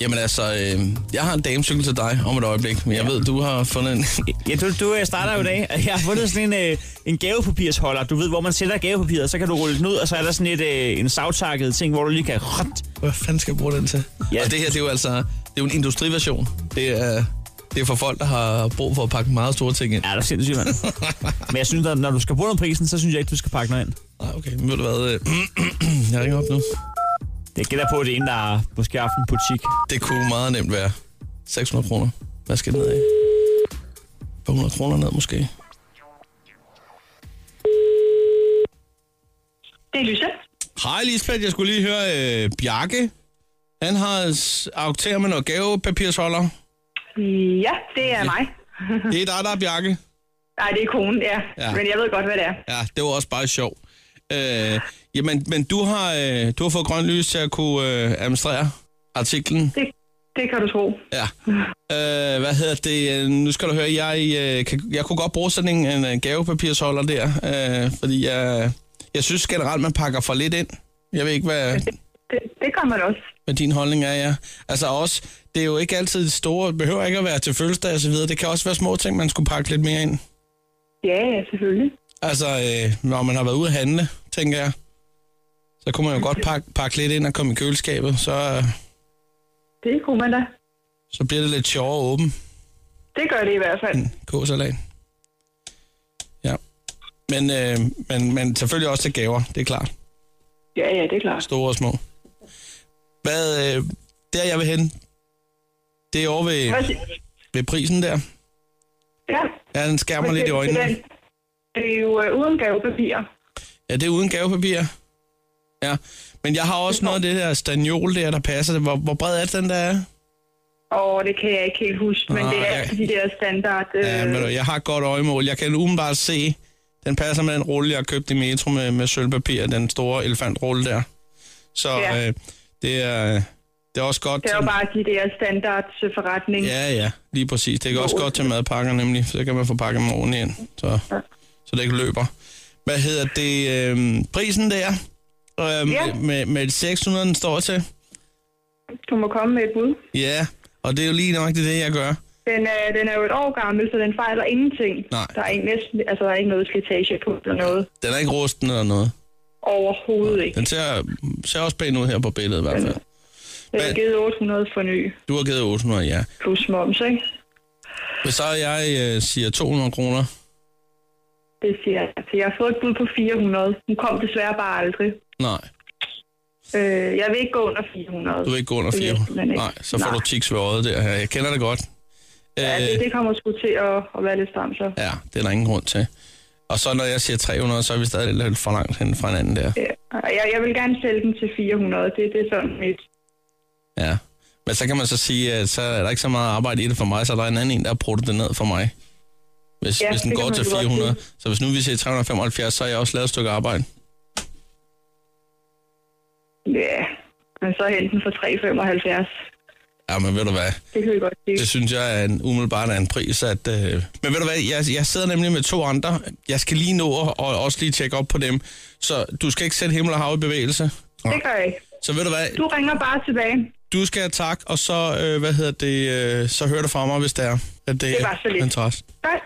Speaker 3: jamen altså, øh, jeg har en damecykel til dig om et øjebeblik, men jeg ved, du har fundet en...
Speaker 4: Ja, du, du øh, starter jo i dag. Jeg har fundet sådan en, øh, en gavepapirsholder. Du ved, hvor man sætter gavepapiret, så kan du rulle den ud, og så er der sådan et, øh, en savtakket ting, hvor du lige kan...
Speaker 3: Hvad fanden skal jeg bruge den til?
Speaker 4: Ja.
Speaker 3: Ja. Og det her, det er jo altså det er jo en industriversion. Det er, det er for folk, der har brug for at pakke meget store ting ind.
Speaker 4: Ja, det er sindssygt, mand. Men jeg synes, at når du skal bruge den prisen, så synes jeg ikke, du skal pakke noget ind.
Speaker 3: Nej, okay. Men ved du hvad? øh, jeg ringer op nu.
Speaker 4: Det gætter på, at det er en, der har måske haft en butik.
Speaker 3: Det kunne meget nemt være 600 kroner. Hvad skal det ned af? På 100 kroner ned måske.
Speaker 7: Det er Lyse.
Speaker 3: Hej Lisbeth, jeg skulle lige høre øh, Bjarke. Han har s- akteret med noget gavepapirsholder.
Speaker 7: Ja, det er mig.
Speaker 3: Det er dig, der er Bjarke.
Speaker 7: Nej, det er konen, ja.
Speaker 3: Ja.
Speaker 7: Men jeg ved godt, hvad det er.
Speaker 3: Ja, det var også bare sjov. Øh, jamen, men du har, øh, du har fået grønt lys til at kunne øh, administrere artiklen.
Speaker 7: Det, det kan du tro.
Speaker 3: Ja. Øh, hvad hedder det? Øh, Nu skal du høre, jeg, øh, kan, jeg kunne godt bruge sådan en, en øh, gavepapirsholder der, øh, fordi jeg, jeg synes generelt, man pakker for lidt ind. Jeg ved ikke, hvad,
Speaker 7: Det, det gør man også.
Speaker 3: hvad din holdning er, ja. Altså også, det er jo ikke altid det store, det behøver ikke at være til fødselsdag og så videre. Det kan også være små ting, man skulle pakke lidt mere ind.
Speaker 7: Ja, ja, selvfølgelig.
Speaker 3: Altså, øh, når man har været ude at handle, tænker jeg, så kunne man jo godt pakke, pakke lidt ind og komme i køleskabet, så, øh,
Speaker 7: Det kunne man da.
Speaker 3: så bliver det lidt sjovere og åben.
Speaker 7: Det gør det i hvert fald.
Speaker 3: Kåsalat. Ja. Men, øh, men, men selvfølgelig også til gaver, det er klart.
Speaker 7: Ja, ja, det er klart.
Speaker 3: Store og små. Hvad, øh, der jeg vil hen, det er over ved,
Speaker 7: Hvad si-
Speaker 3: ved prisen der.
Speaker 7: Ja.
Speaker 3: Ja, den skærmer
Speaker 7: men
Speaker 3: lidt i
Speaker 7: det-
Speaker 3: øjnene.
Speaker 7: det- Det er jo øh, uden gavepapir.
Speaker 3: Ja, det er uden gavepapir. Ja, men jeg har også noget af det der stagnol der, der passer. Hvor, hvor bred er det, den, der er?
Speaker 7: Og det kan jeg ikke helt huske, men
Speaker 3: Nå,
Speaker 7: det er
Speaker 3: ja.
Speaker 7: altid de der standard... Øh,
Speaker 3: Ja, men jeg har et godt øjemål. Jeg kan umiddelbart se, den passer med den rulle, jeg har købt i Metro med, med sølvpapir, den store elefantrulle der. Så
Speaker 7: Ja.
Speaker 3: ja. øh, det, er, det er også godt
Speaker 7: det er jo bare de der standards øh, forretning.
Speaker 3: Ja, ja, lige præcis. Det er også godt til madpakker nemlig, for så kan man få pakket dem ordentligt ind, så, ja. så det ikke løber. Hvad hedder det? Øh, prisen der øh,
Speaker 7: Ja.
Speaker 3: med, med, med 600, den står til.
Speaker 7: Du må komme med et bud.
Speaker 3: Ja, og det er jo lige nok det, jeg gør.
Speaker 7: Den er, den er jo et år gammel, så den fejler ingenting.
Speaker 3: Nej.
Speaker 7: Der er ikke, næsten, altså, der er ikke noget slitage på eller noget.
Speaker 3: Den er ikke rusten eller noget.
Speaker 7: Og Overhovedet ikke.
Speaker 3: Den ser, ser også pæn ud her på billedet i hvert fald.
Speaker 7: Jeg har
Speaker 3: Hvad-
Speaker 7: givet 800 for ny,
Speaker 3: Du har givet 800, ja.
Speaker 7: plus moms, ikke?
Speaker 3: Hvis så jeg øh, siger 200 kroner,
Speaker 7: Det siger jeg. Altså, jeg har fået et bud på 400. Hun kom desværre bare aldrig.
Speaker 3: nej,
Speaker 7: Øh, jeg vil ikke gå under 400.
Speaker 3: du vil ikke gå under
Speaker 7: Det vil jeg
Speaker 3: 400.
Speaker 7: simpelthen ikke.
Speaker 3: Nej, så får
Speaker 7: Nej.
Speaker 3: du tiks ved øjet der. Jeg kender det godt.
Speaker 7: Ja, det, det kommer sgu til at, at være lidt stramt, så.
Speaker 3: ja, det er der ingen grund til. Og så når jeg siger 300, så er vi stadig lidt for langt hen fra hinanden der.
Speaker 7: Ja. Jeg, jeg vil gerne sælge den til 400. Det, det er sådan mit...
Speaker 3: Ja. Men så kan man så sige, at så er der ikke så meget arbejde i det for mig, så er der en anden en, der har bruttet det ned for mig. Hvis,
Speaker 7: Ja,
Speaker 3: ja, hvis den
Speaker 7: det kan
Speaker 3: går
Speaker 7: man
Speaker 3: til
Speaker 7: jo godt
Speaker 3: 400,
Speaker 7: sige.
Speaker 3: så hvis nu vi siger 375, så har jeg også lavet et stykke arbejde.
Speaker 7: Ja, men så hente den for 375.
Speaker 3: Ja, men ved du hvad,
Speaker 7: Det kan vi godt sige.
Speaker 3: det synes jeg er en, umiddelbart er en pris, at... Øh... Men ved du hvad, jeg, jeg sidder nemlig med to andre. Jeg skal lige nå og, og også lige tjekke op på dem. Så du skal ikke sætte himmel og hav i bevægelse.
Speaker 7: Det gør jeg ikke.
Speaker 3: Så ved du hvad,
Speaker 7: Du ringer bare tilbage.
Speaker 3: du skal have tak, og så, øh, hvad hedder det, øh, så hører du fra mig, hvis det er. At det, det
Speaker 7: var så lidt.
Speaker 3: Interesse.
Speaker 7: Godt.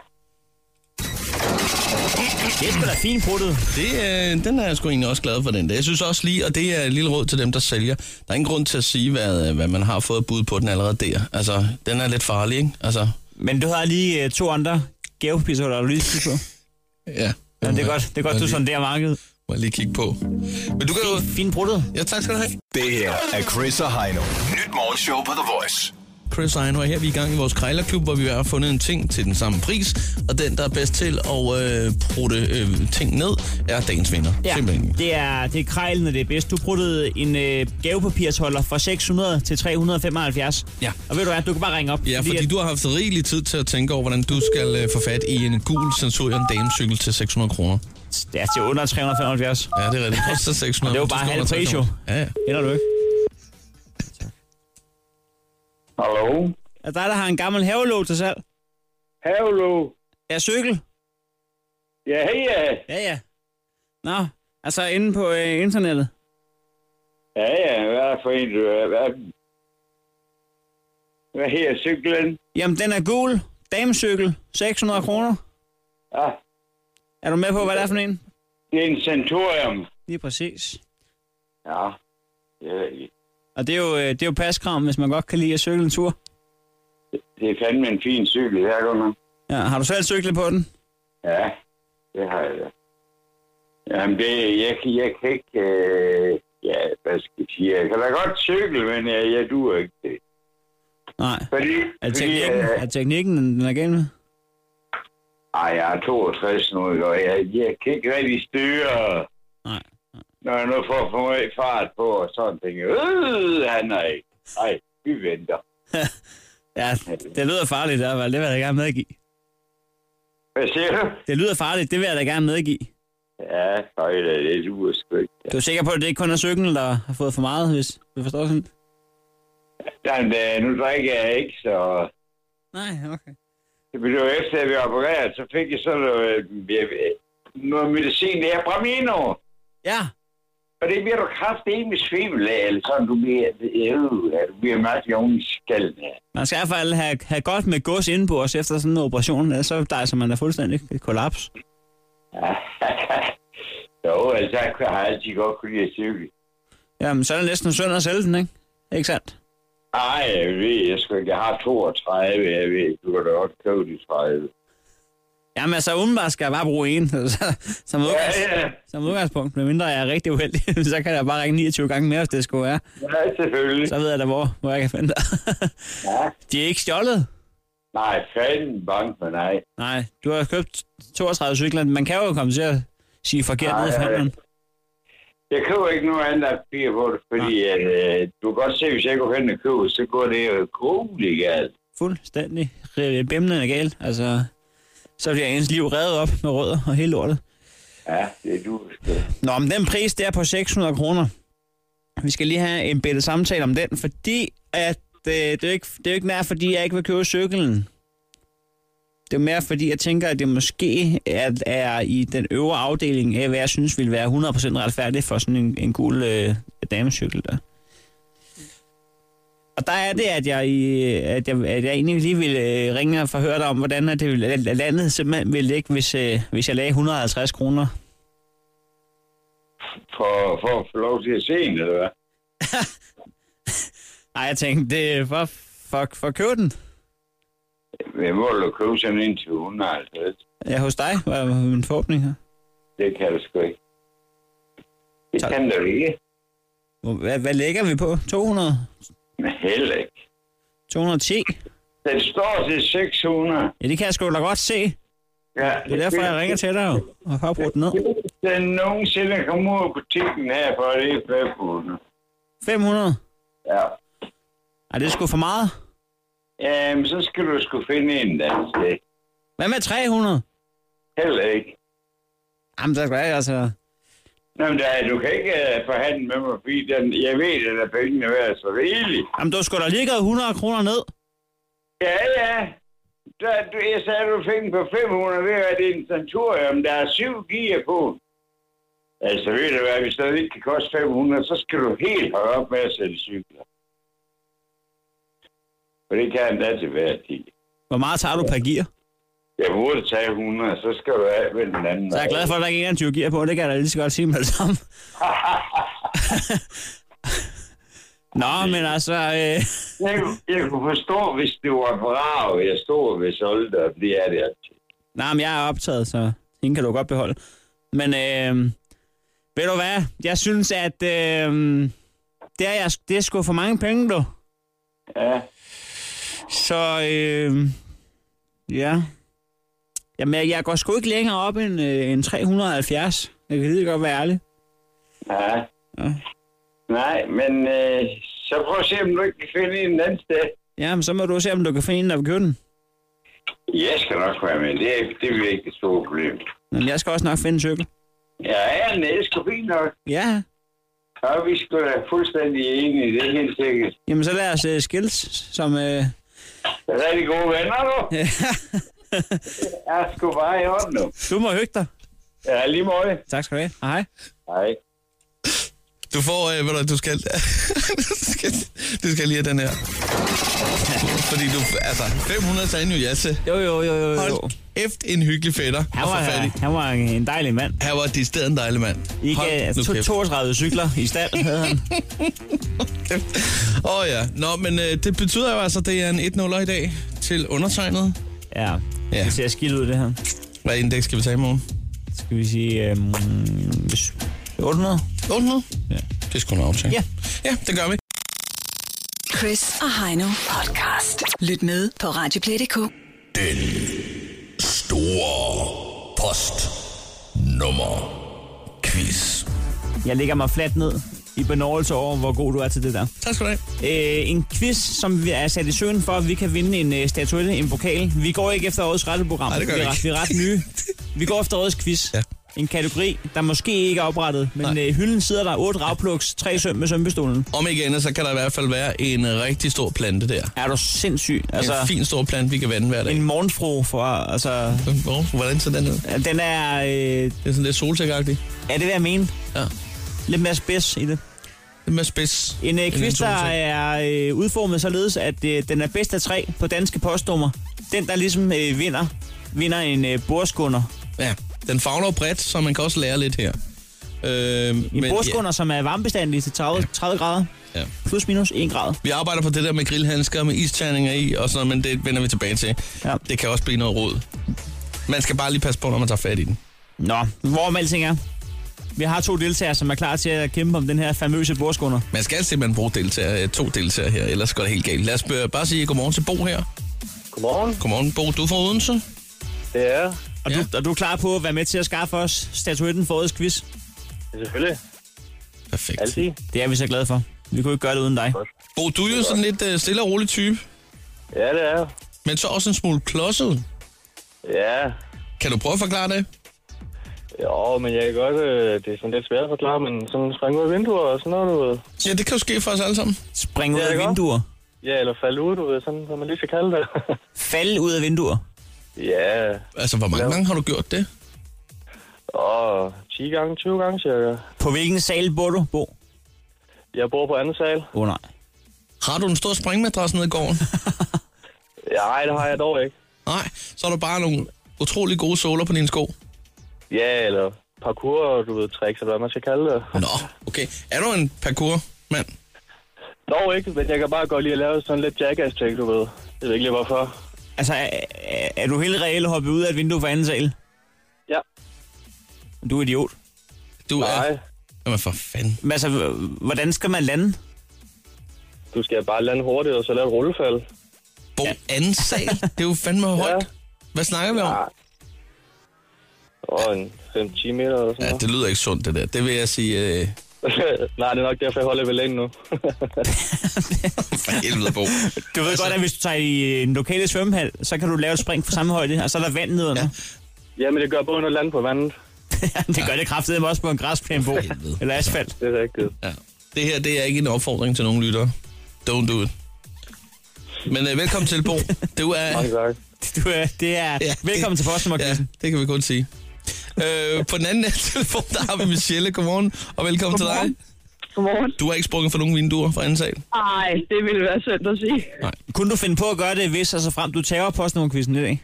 Speaker 4: Det er sgu da fint bruttet.
Speaker 3: Det, øh, den er jeg sgu egentlig også glad for, den der. Jeg synes også lige, og det er et lille råd til dem, der sælger. Der er ingen grund til at sige, hvad, øh, hvad man har fået bud på den allerede der. Altså, den er lidt farlig, ikke? Altså,
Speaker 4: Men du har lige øh, to andre gavepistoler, du lige skal på.
Speaker 3: ja.
Speaker 4: Ja, det er godt, det er godt du
Speaker 3: sådan.
Speaker 4: sonderer markedet.
Speaker 3: Må jeg lige kigge på. Men du kan jo...
Speaker 4: Fint bruttet.
Speaker 3: Ja, tak skal du have.
Speaker 5: Det her er Chris og Heino. Nyt morgenshow på The Voice.
Speaker 3: Chris og Heino, og her er vi i gang i vores krejlerklub, hvor vi har fundet en ting til den samme pris, og den, der er bedst til at øh, prutte øh, ting ned, er dagens vinder. Simpelthen.
Speaker 4: det er, det er krejlen, og det er bedst. Du bruttede en øh, gavepapirsholder fra 600 til 375.
Speaker 3: Ja.
Speaker 4: Og ved du hvad, du kan bare ringe op.
Speaker 3: Ja, fordi
Speaker 4: at-
Speaker 3: du har haft rigelig tid til at tænke over, hvordan du skal øh, få fat i en gul sensorion damecykel til 600 kroner.
Speaker 4: Det er til under 375.
Speaker 3: Ja, det er rigtigt. Det koster 600.
Speaker 4: Det er jo
Speaker 3: Du
Speaker 4: bare
Speaker 3: skal
Speaker 4: halv
Speaker 3: under
Speaker 4: pris,
Speaker 3: 300. Ja, ja.
Speaker 4: Eller du ikke?
Speaker 6: Hallo?
Speaker 4: Er der, der har en gammel havelåg til salg?
Speaker 6: Hallo?
Speaker 4: Ja, cykel.
Speaker 6: Ja, hej ja.
Speaker 4: Ja, ja. Nå, altså inde på øh, internettet.
Speaker 6: Ja, ja. Hvad er det for en, du er? Hvad, hvad her cyklen?
Speaker 4: Jamen, den er gul. Damecykel. 600 kroner.
Speaker 6: Ah,
Speaker 4: Er du med på, hvad det er for en?
Speaker 6: det er en Centurium.
Speaker 4: Lige præcis.
Speaker 6: Ja. Det,
Speaker 4: Og det er jo, øh, det er jo paskram, hvis man godt kan lide at cykle en tur.
Speaker 6: det er fandme en fin cykel, her du nok.
Speaker 4: Ja, har du selv cyklet på den?
Speaker 6: Ja, det har jeg da. Jamen, det, jeg, kan- jeg kan ikke... Øh, ja, hvad skal jeg sige? Jeg kan da godt cykle, men jeg, jeg duer ikke det.
Speaker 4: Nej.
Speaker 6: Fordi,
Speaker 4: Er
Speaker 6: fordi
Speaker 4: teknikken,
Speaker 6: øh,
Speaker 4: er teknikken den er gennem?
Speaker 6: ej, jeg er 62 nu, ikke? og jeg, jeg kan ikke rigtig styre,
Speaker 4: Nej.
Speaker 6: når jeg nu får for meget fart på, og sådan ting. Øh, han er ikke. Ej, vi venter.
Speaker 4: Ja, det lyder farligt i hvert fald. Det vil jeg da gerne medgive.
Speaker 6: Hvad siger du?
Speaker 4: Det lyder farligt, det vil jeg da gerne medgive.
Speaker 6: Ja, nej, det det duer sgu ikke.
Speaker 4: Du er sikker på, at det ikke kun er cyklen, der har fået for meget, hvis du forstår sådan?
Speaker 6: Jamen, øh, nu drikker jeg ikke, så...
Speaker 4: Nej, okay.
Speaker 6: Det blev jo efter, at vi opererede, så fik jeg sådan noget, øh, jeg, noget medicin, det er Bramino.
Speaker 4: Ja,
Speaker 6: Og det bliver du kraftedeme svimmel af, eller sådan, du bliver, øh, ja, du bliver meget jung i skallen af.
Speaker 4: man skal i hvert fald have, have godt med gods inde på os efter sådan en operation. ellers Så dejser man da fuldstændig et kollaps.
Speaker 6: jo, altså, jeg har altid godt kunne lide at cykle.
Speaker 4: Jamen, så er det næsten synd at sælge den, ikke? Ikke sandt?
Speaker 6: Ej, jeg ved, jeg sgu ikke, jeg har 32, jeg ved, du kan da godt købe de 30.
Speaker 4: Jamen, altså, umiddelbart skal jeg bare bruge en. Så, som,
Speaker 6: Ja,
Speaker 4: udgangs,
Speaker 6: ja,
Speaker 4: som udgangspunkt, medmindre jeg er rigtig uheldig, så kan jeg bare ringe 29 gange mere, hvis det skulle være.
Speaker 6: ja, selvfølgelig.
Speaker 4: Så ved jeg da, hvor, hvor jeg kan finde dig.
Speaker 6: Ja.
Speaker 4: De er ikke stjålet.
Speaker 6: Nej, fanden bank med nej.
Speaker 4: Nej, du har købt 32 cykler. Man kan jo komme til at sige forkert
Speaker 6: Nej,
Speaker 4: ned i
Speaker 6: ja,
Speaker 4: forhandleren.
Speaker 6: Jeg køber ikke nogen andre papir på det, fordi at, øh, du kan godt se, hvis jeg går hen og køber, så går det jo grueligt galt.
Speaker 4: Fuldstændig re- bimlende er galt. Altså, så bliver ens liv reddet op med rødder og hele lortet.
Speaker 6: Ja, det er du. sgu.
Speaker 4: Nå, men den pris der på 600 kroner. Vi skal lige have en bitte samtale om den, fordi at, øh, det, er jo ikke, det er jo ikke nær, fordi jeg ikke vil købe cyklen. Det er mere, fordi jeg tænker, at det måske er, er i den øvre afdeling af, hvad jeg synes ville være 100% retfærdigt for sådan en, en gul øh, damecykel der. Og der er det, at jeg, i- at jeg, at jeg egentlig lige ville øh, ringe og forhøre dig om, hvordan at det ville, at landet simpelthen ville ligge, hvis, øh, hvis jeg lagde 150 kroner
Speaker 6: for, for at få lov til at se den, eller hvad?
Speaker 4: Ej, jeg tænkte, det er for, for, for at købe den.
Speaker 6: Jeg må jo købe sådan en til 150.
Speaker 4: Ja, hos dig var min forhåbning her.
Speaker 6: Det kan du sgu ikke. Det
Speaker 4: Tak.
Speaker 6: kan du ikke.
Speaker 4: Hvor- Hvad, hvad lægger vi på? 200?
Speaker 6: Men heller ikke.
Speaker 4: 210?
Speaker 6: Den står til 600.
Speaker 4: Ja, det kan jeg sgu da godt se.
Speaker 6: Ja,
Speaker 4: Det er derfor, jeg ringer til dig jo, og har brugt den ned.
Speaker 6: Den nogensinde kommer ud af butikken her, for det er 500.
Speaker 4: 500?
Speaker 6: Ja.
Speaker 4: Ej, det er sgu for meget.
Speaker 6: Jamen, så skal du sgu finde en, der sted.
Speaker 4: Hvad med 300?
Speaker 6: Heller ikke.
Speaker 4: Jamen, der skal jeg altså...
Speaker 6: Nå, men der, du kan ikke uh, forhandle med mig, fordi den, jeg ved, at der pengene er værd så rigeligt.
Speaker 4: Jamen, du skulle da lige givet 100 kroner ned.
Speaker 6: Ja, ja. Der, du, jeg sagde, at du fik den på 500 ved, at det er en centurium. Der er syv gear på. Altså, ved du hvad, hvis det ikke kan koste 500, så skal du helt holde op med at sælge cykler. For det kan endda til hver tid.
Speaker 4: Hvor meget tager du per gear?
Speaker 6: Jeg burde tage 100, så skal du af med den anden.
Speaker 4: Så jeg er glad for, at der ikke er en 20 gear på. Det kan jeg da lige så godt sige med det samme. Nå, men altså... Øh,
Speaker 6: Jeg, jeg kunne forstå, hvis det var brav, jeg stod ved solgte, og det er det altid.
Speaker 4: nej, men jeg er optaget, så hende kan du godt beholde. Men øh, ved du hvad? Jeg synes, at øh, det, er jeg, det er sgu for mange penge, du.
Speaker 6: Ja,
Speaker 4: Så øh, ja. Jamen, jeg- jeg går sgu ikke længere op end, øh, end 370. Jeg kan lige godt være ærlig.
Speaker 6: ja. Nej, men øh, så prøv at se, om du ikke kan finde en anden sted.
Speaker 4: Jamen, så må du se, om du kan finde en, der vil købe den.
Speaker 6: Jeg skal nok være med. Det, er- det er ikke et stort problem.
Speaker 4: Jamen, jeg skal også nok finde en cykel.
Speaker 6: Ja, ja, nej, det skal fint nok.
Speaker 4: Ja,
Speaker 6: Og vi skal da fuldstændig enige, det er helt sikkert.
Speaker 4: jamen så lad os øh, skilles som... Øh,
Speaker 6: Rigtig gode venner, du. Jeg skal bare i hånden nu.
Speaker 4: du må hygge dig.
Speaker 6: Ja, lige måde.
Speaker 4: Tak skal du have. Hej.
Speaker 6: Hej.
Speaker 3: Du får, øh, ved du, hvad, du skal, du skal, du skal lige have den her. Fordi du, altså, 500 sagde en jo ja til.
Speaker 4: Jo, jo, jo, jo. jo.
Speaker 3: Hold kæft, en hyggelig fætter.
Speaker 4: Han
Speaker 3: Og
Speaker 4: var,
Speaker 3: forfærdelig.
Speaker 4: han var en en dejlig mand.
Speaker 3: Her var det stedet en dejlig mand.
Speaker 4: I
Speaker 3: Hold
Speaker 4: gav altså,
Speaker 3: nu
Speaker 4: to-
Speaker 3: kæft.
Speaker 4: 32 cykler i stand, havde han.
Speaker 3: Åh oh, ja. Nå, men øh, det betyder jo altså, at det er en 1-0 i dag til undertegnet.
Speaker 4: Ja,
Speaker 3: Ja.
Speaker 4: det ser skidt ud, det her.
Speaker 3: Hvad indeks skal vi tage i morgen?
Speaker 4: Skal vi sige... Øh, 800?
Speaker 3: 800?
Speaker 4: Ja.
Speaker 3: Det er sgu en aftale.
Speaker 4: Ja.
Speaker 3: Ja, det gør vi.
Speaker 2: Chris og Heino podcast. Lyt med på Radioplay.dk.
Speaker 3: Store post nummer quiz.
Speaker 4: Jeg lægger mig fladt ned i benovelse over, hvor god du er til det der.
Speaker 3: Tak skal du have.
Speaker 4: Øh, en quiz, som vi er sat i søen for, at vi kan vinde en øh, statuette, en pokal. Vi går ikke efter årets retteprogram.
Speaker 3: Nej, det gør
Speaker 4: vi, er,
Speaker 3: vi ikke.
Speaker 4: ret- vi er ret nye. Vi går efter årets quiz.
Speaker 3: Ja.
Speaker 4: En kategori, der måske ikke er oprettet, men
Speaker 3: Nej.
Speaker 4: øh, hylden sidder der. Otte ravpluks, tre søm med sømpestolen.
Speaker 3: Om ikke andet, så kan der i hvert fald være en øh, rigtig stor plante der.
Speaker 4: Er du sindssyg?
Speaker 3: Altså, en fin stor plante, vi kan vande hver dag.
Speaker 4: en morgenfro for... Altså,
Speaker 3: Hvor, hvordan ser den ud?
Speaker 4: ja, den er... Øh,
Speaker 3: Det er sådan lidt solsikkeragtigt.
Speaker 4: er det, hvad jeg mener?
Speaker 3: Ja.
Speaker 4: Lidt mere spids i det.
Speaker 3: Lidt mere spids.
Speaker 4: En øh,
Speaker 3: end
Speaker 4: quiz, der
Speaker 3: solsik.
Speaker 4: er øh, udformet således, at øh, den er bedst af tre på danske postnummer. Den, der ligesom øh, vinder, vinder en øh, bordskunder.
Speaker 3: Ja, den fagner jo bredt, så man kan også lære lidt her. Øh,
Speaker 4: En Men, bordskunder, ja. som er varmebestandig til 30, 30 grader.
Speaker 3: Ja.
Speaker 4: Plus minus 1 grad.
Speaker 3: Vi arbejder på det der med grillhandsker, med isterninger i og sådan noget, men det vender vi tilbage til.
Speaker 4: Ja.
Speaker 3: Det kan også blive noget rod. Man skal bare lige passe på, når man tager fat i den.
Speaker 4: Nå, hvorom alting er. Vi har to deltagere, som er klar til at kæmpe om den her famøse bordskunder.
Speaker 3: Man skal simpelthen bruge deltager, øh, to deltagere her, ellers går det helt galt. Lad os øh, bare sige godmorgen til Bo her.
Speaker 9: Godmorgen,
Speaker 3: Godmorgen, Bo. Du er fra Odense.
Speaker 9: det er jeg.
Speaker 4: Og,
Speaker 3: Ja.
Speaker 4: ja. du, og du er klar på at være med til at skaffe os statuetten for årets quiz?
Speaker 9: Selvfølgelig,
Speaker 3: Perfekt.
Speaker 9: altid.
Speaker 4: Det er vi så glade for. Vi kunne ikke gøre det uden dig.
Speaker 3: Bo, du er jo sådan lidt øh, stille og rolig type,
Speaker 9: Ja, det er jeg.
Speaker 3: men så også en smule klodset.
Speaker 9: Ja,
Speaker 3: Kan du prøve at forklare det?
Speaker 9: jo, men jeg kan godt... Øh, det er sådan lidt svært at forklare, men sådan springe ud af vinduer og sådan noget, du ved.
Speaker 3: Ja, det kan jo ske for os alle sammen.
Speaker 4: Spring ud
Speaker 9: Ja, det
Speaker 4: af
Speaker 9: er godt.
Speaker 4: vinduer.
Speaker 9: Ja, eller falde ud, du ved, sådan som man lige skal kalde det.
Speaker 4: Fald ud af vinduer.
Speaker 9: ja,
Speaker 3: Altså, hvor mange
Speaker 9: Ja.
Speaker 3: gange har du gjort det?
Speaker 9: og 10 gange, 20 gange cirka.
Speaker 4: På hvilken sal bor du, Bo?
Speaker 9: Jeg bor på anden sal.
Speaker 4: Åh oh, nej.
Speaker 3: Har du en stor springmadras nede i gården?
Speaker 9: Ja, ej, det har jeg dog ikke.
Speaker 3: Nej, så er der bare nogle utrolig gode såler på dine sko.
Speaker 9: Ja, eller parkour og du ved, tricks, eller hvad man skal kalde det.
Speaker 3: Nå, okay. Er du en parkour-mand?
Speaker 9: Dog ikke, men jeg kan bare godt lide at lave sådan lidt jackass-ting, du ved. Jeg ved ikke lige hvorfor.
Speaker 4: Altså, er, er- er du helt reelt hoppet ud af et vindue for anden sal?
Speaker 9: Ja.
Speaker 4: Du er idiot.
Speaker 3: Du er...
Speaker 9: Nej,
Speaker 3: Jamen for fanden.
Speaker 4: Men altså, h- hvordan skal man lande?
Speaker 9: du skal bare lande hurtigt og så lave et rullefald.
Speaker 3: Bo, anden sal? Det er jo fandme højt. Hvad snakker vi om?
Speaker 9: Og en 5-10 meter eller sådan
Speaker 3: Ja,
Speaker 9: noget.
Speaker 3: det lyder ikke sundt, det der. Det vil jeg sige... Øh,
Speaker 9: Nej, det er nok derfor, jeg holder ved længe nu.
Speaker 3: for helvede, Bo.
Speaker 4: Du ved altså, godt, at hvis du tager i en lokale svømmehal, så kan du lave et spring på samme højde, og så er der vand nedenunder. Ja.
Speaker 9: Jamen, det gør både noget land på vandet.
Speaker 4: det gør det kraftedeme også på en græsplæne, Bo.
Speaker 3: helvede.
Speaker 4: Eller asfalt.
Speaker 9: Det er rigtigt.
Speaker 3: Ja. Det her, det er ikke en opfordring til nogen lyttere. Don't do it. Men øh, velkommen til, Bo. Du er...
Speaker 9: Mange tak.
Speaker 4: Du, øh, det er...
Speaker 3: Ja,
Speaker 4: Ja,
Speaker 3: det-
Speaker 4: Velkommen til
Speaker 3: Ja,
Speaker 4: Forstemmerkvisten.
Speaker 3: det kan vi godt sige. Øh, på den anden ende af telefonen, der har vi Michelle. Godmorgen, og velkommen til dig.
Speaker 7: Godmorgen.
Speaker 3: Du har ikke sprunget for nogen vinduer fra anden sal?
Speaker 7: Ej, det ville være synd at sige.
Speaker 4: Ja. Kunne du finde på at gøre det, hvis og så frem du tager Forstemmerkvisten i dag?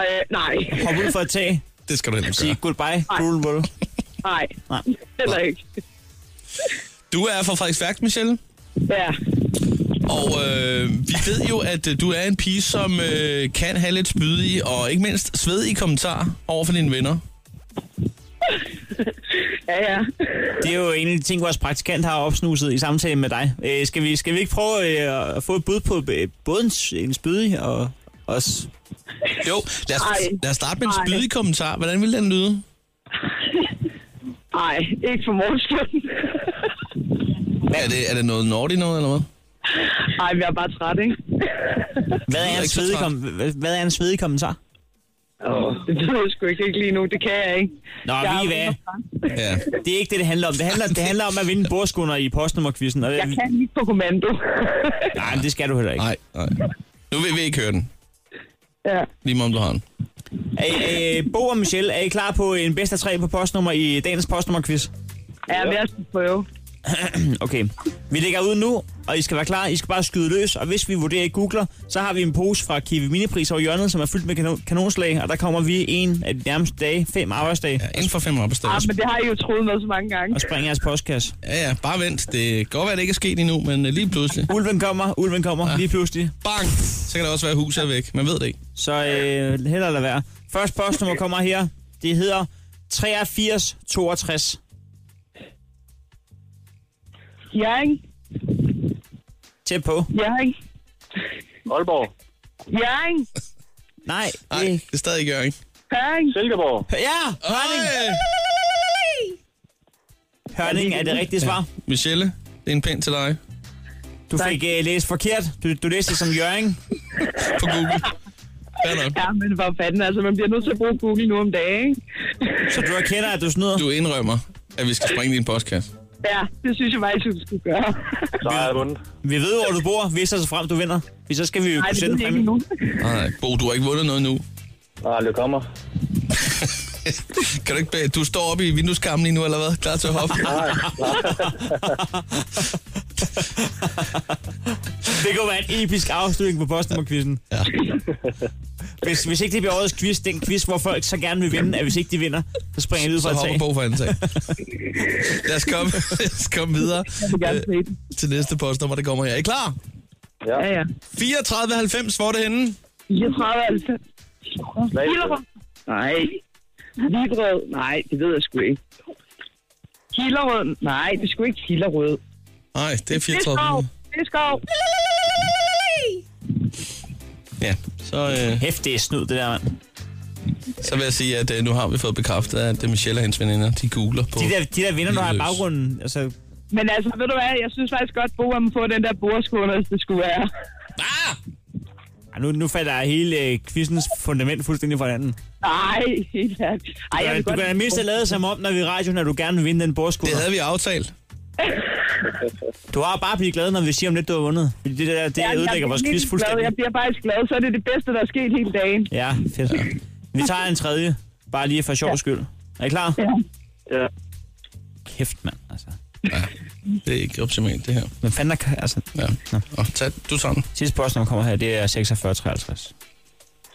Speaker 7: Øh, nej,
Speaker 4: Hop ud for et tag,
Speaker 3: Det skal du heller
Speaker 4: sige
Speaker 3: gøre.
Speaker 4: goodbye, cool, bro.
Speaker 7: nej,
Speaker 4: Nej.
Speaker 7: heller ikke.
Speaker 3: Du er fra Frederiksværk, Michelle.
Speaker 7: Ja,
Speaker 3: Og øh, vi ved jo, at øh, du er en pige, som øh, kan have lidt spydige og ikke mindst svedige kommentarer over for dine venner.
Speaker 7: ja, ja.
Speaker 4: Det er jo en af de ting, vores praktikant har opsnuset i samtalen med dig. Øh, skal, vi, skal vi ikke prøve øh, at få et bud på øh, både en, s- en spydig og os?
Speaker 3: Jo, lad os,
Speaker 7: Ej.
Speaker 3: lad os starte med en
Speaker 7: Ej.
Speaker 3: spydig kommentar. Hvordan vil den lyde?
Speaker 7: Nej, ikke for morgenstunden.
Speaker 3: Er det, er det noget naughty noget, eller hvad?
Speaker 7: Ej, vi er bare træt, ikke?
Speaker 4: Hvad
Speaker 3: lyder
Speaker 4: er en
Speaker 3: ikke så
Speaker 4: svedig,
Speaker 3: træt.
Speaker 4: kom, hvad- hvad er en svedig kommentar?
Speaker 7: Åh, det ved jeg sgu ikke, ikke lige nu. Det kan jeg ikke.
Speaker 4: Nå,
Speaker 7: jeg
Speaker 4: ved I
Speaker 7: er
Speaker 4: hvad?
Speaker 7: underfra.
Speaker 3: Ja.
Speaker 4: Det er ikke det, det handler om. Det handler, det handler om at vinde bordskunder i postnummerquizzen. Og det,
Speaker 7: Jeg kan ikke på kommando.
Speaker 4: Nej, men det skal du heller ikke.
Speaker 3: Nej, nej. Nu vil vi ikke høre den,
Speaker 7: ja.
Speaker 3: lige meget om du har den.
Speaker 4: Æ, æ, Bo og Michelle, er I klar på en bedst af tre på postnummer i dagens postnummerquiz?
Speaker 7: ja, men jeg skal prøve.
Speaker 4: Okay. Vi lægger ud nu, og I skal være klar. I skal bare skyde løs, og hvis vi vurderer, I googler, så har vi en pose fra Kiwi Minipris over hjørnet, som er fyldt med kanon- kanonslag, og der kommer vi en af de nærmeste dage, fem arbejdsdage,
Speaker 3: Ja, inden for fem arbejdsdage.
Speaker 7: Ah, men det har I jo troet med så mange gange.
Speaker 4: og springer jeres postkasse.
Speaker 3: Ja, ja, bare vent. Det kan godt være, det ikke er sket endnu, men øh, lige pludselig.
Speaker 4: Ulven kommer, ulven kommer, ja. lige pludselig.
Speaker 3: Bang! Så kan det også være, at huset er væk. Man ved det ikke.
Speaker 4: Så øh, heller lade være. Første postnummer kommer her. Det hedder 8362.
Speaker 7: Ja, ikke?
Speaker 4: Tæt på.
Speaker 7: Ja, ikke?
Speaker 9: Aalborg,
Speaker 7: Ja, ikke?
Speaker 4: Nej,
Speaker 3: Nej,
Speaker 4: det
Speaker 3: det er stadig ikke Jørgen.
Speaker 7: Ja, ikke?
Speaker 9: Silkeborg,
Speaker 4: Ja, Hørning. Hørning er det rigtige svar.
Speaker 3: Michelle, det er en pind til dig
Speaker 4: Du fik uh, læst forkert. Du, du læste det som Jørgen.
Speaker 3: på Google. Fair nok.
Speaker 7: Ja, men hvor fanden, altså, man bliver nødt til at bruge Google nu om dagen, ikke?
Speaker 4: Så du erkender, at du snyder.
Speaker 3: Du indrømmer, at vi skal springe din postkasse.
Speaker 7: Ja, det synes jeg faktisk, du skulle gøre.
Speaker 9: så har jeg vundet.
Speaker 4: Vi ved, hvor du bor. Hvis og så frem, du vinder. Hvis så skal vi jo
Speaker 7: Nej,
Speaker 4: kunne
Speaker 7: det
Speaker 4: sende
Speaker 7: ved
Speaker 4: en
Speaker 7: jeg ikke
Speaker 4: præmie.
Speaker 7: endnu.
Speaker 3: Nej, Bo, du har ikke vundet noget nu.
Speaker 9: Nej, det kommer.
Speaker 3: Kan du ikke bage? Du står oppe i vindueskarmen lige nu, eller hvad? Klar til at hoppe?
Speaker 4: Det kunne være en episk afslutning på postnummerquizzen.
Speaker 3: Ja.
Speaker 4: Hvis, hvis ikke det bliver årets quiz, den quiz, hvor folk så gerne vil vinde, at hvis ikke de vinder, så springer de ud
Speaker 3: Så
Speaker 4: fra et
Speaker 3: hopper
Speaker 4: tag.
Speaker 3: Bo for anden sag. Lad os komme, lad os komme videre
Speaker 7: Jeg vil gerne
Speaker 3: øh,
Speaker 7: se den.
Speaker 3: til næste postnummer, det kommer her. Er I klar?
Speaker 7: Ja, ja.
Speaker 3: 3490, hvor er det henne?
Speaker 7: 34, altså. Hillerød. Nej. Hvidrød. Nej, det ved jeg sgu ikke. Hillerød. Nej, det er sgu ikke Hillerød.
Speaker 3: Nej, det er
Speaker 7: Det er skov.
Speaker 3: 3400.
Speaker 7: Det er skov.
Speaker 3: Ja, så, øh,
Speaker 4: Hæft, det er snyd, det der, mand.
Speaker 3: så vil jeg sige, at øh, nu har vi fået bekræftet, at øh, Michelle og hendes veninder, de googler på...
Speaker 4: De der, de der vinder, du har i
Speaker 3: Løs.
Speaker 4: baggrunden, altså,
Speaker 7: Men altså, ved du hvad, jeg synes faktisk godt, Bo, at man får den der bordskåne, hvis det skulle være.
Speaker 3: Ah!
Speaker 4: Ej, nu, nu falder hele øh, quizzens fundament fuldstændig fra hinanden.
Speaker 7: Nej, helt ærligt. Ej, jeg
Speaker 4: Ja,
Speaker 7: vil
Speaker 4: du
Speaker 7: godt...
Speaker 4: kan da mindst have lavet som om, når vi er i radioen, at du gerne vil vinde den
Speaker 3: Det
Speaker 4: bordskulder.
Speaker 3: havde vi aftalt.
Speaker 4: Du har bare blivet glad, når vi siger om lidt, du har vundet. Fordi det der, det
Speaker 7: Ja, jeg
Speaker 4: ødelægger
Speaker 7: bliver
Speaker 4: vores
Speaker 7: helt
Speaker 4: quiz
Speaker 7: glad.
Speaker 4: fuldstændig.
Speaker 7: Jeg bliver faktisk glad, så er det det bedste, der er sket hele dagen.
Speaker 4: Ja, fedt. Vi tager en tredje, bare lige for sjov skyld. Er I klar?
Speaker 7: Ja.
Speaker 9: Ja.
Speaker 4: Kæft, mand, altså.
Speaker 3: Det er ikke optimalt, det her.
Speaker 4: Hvem fanden der kan, altså.
Speaker 3: Ja. Nå, tag, du tager den.
Speaker 4: Sidste spørgsmål kommer her, det er 4653.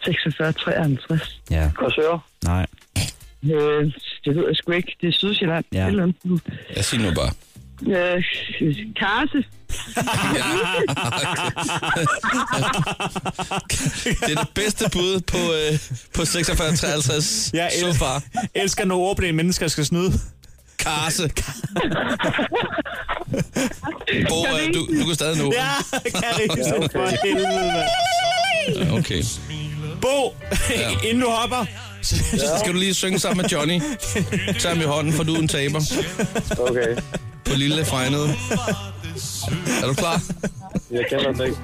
Speaker 7: 46, 53.
Speaker 4: Ja.
Speaker 9: Korsør,
Speaker 4: Nej.
Speaker 7: Øh,
Speaker 10: det ved jeg sgu ikke. Det er Sydsjælland.
Speaker 3: Ja.
Speaker 10: Ja. Eller andet.
Speaker 3: Jeg siger nu bare.
Speaker 10: Øh, Karse.
Speaker 3: Det er det bedste bud på, øh, på 4653
Speaker 4: Jeg
Speaker 3: so far.
Speaker 4: elsker, når ordblinde mennesker skal snyde.
Speaker 3: Karse. Bo, øh, du, du kan stadig nå.
Speaker 4: Ja, Karise, for helvede, mand.
Speaker 3: Ja, Okay.
Speaker 4: Bo, inden du hopper,
Speaker 3: Så skal du lige synge sammen med Johnny. Tag ham i hånden, for du er en taber.
Speaker 6: Okay,
Speaker 3: På lille fregnede. Er du klar?
Speaker 6: jeg kender det ikke.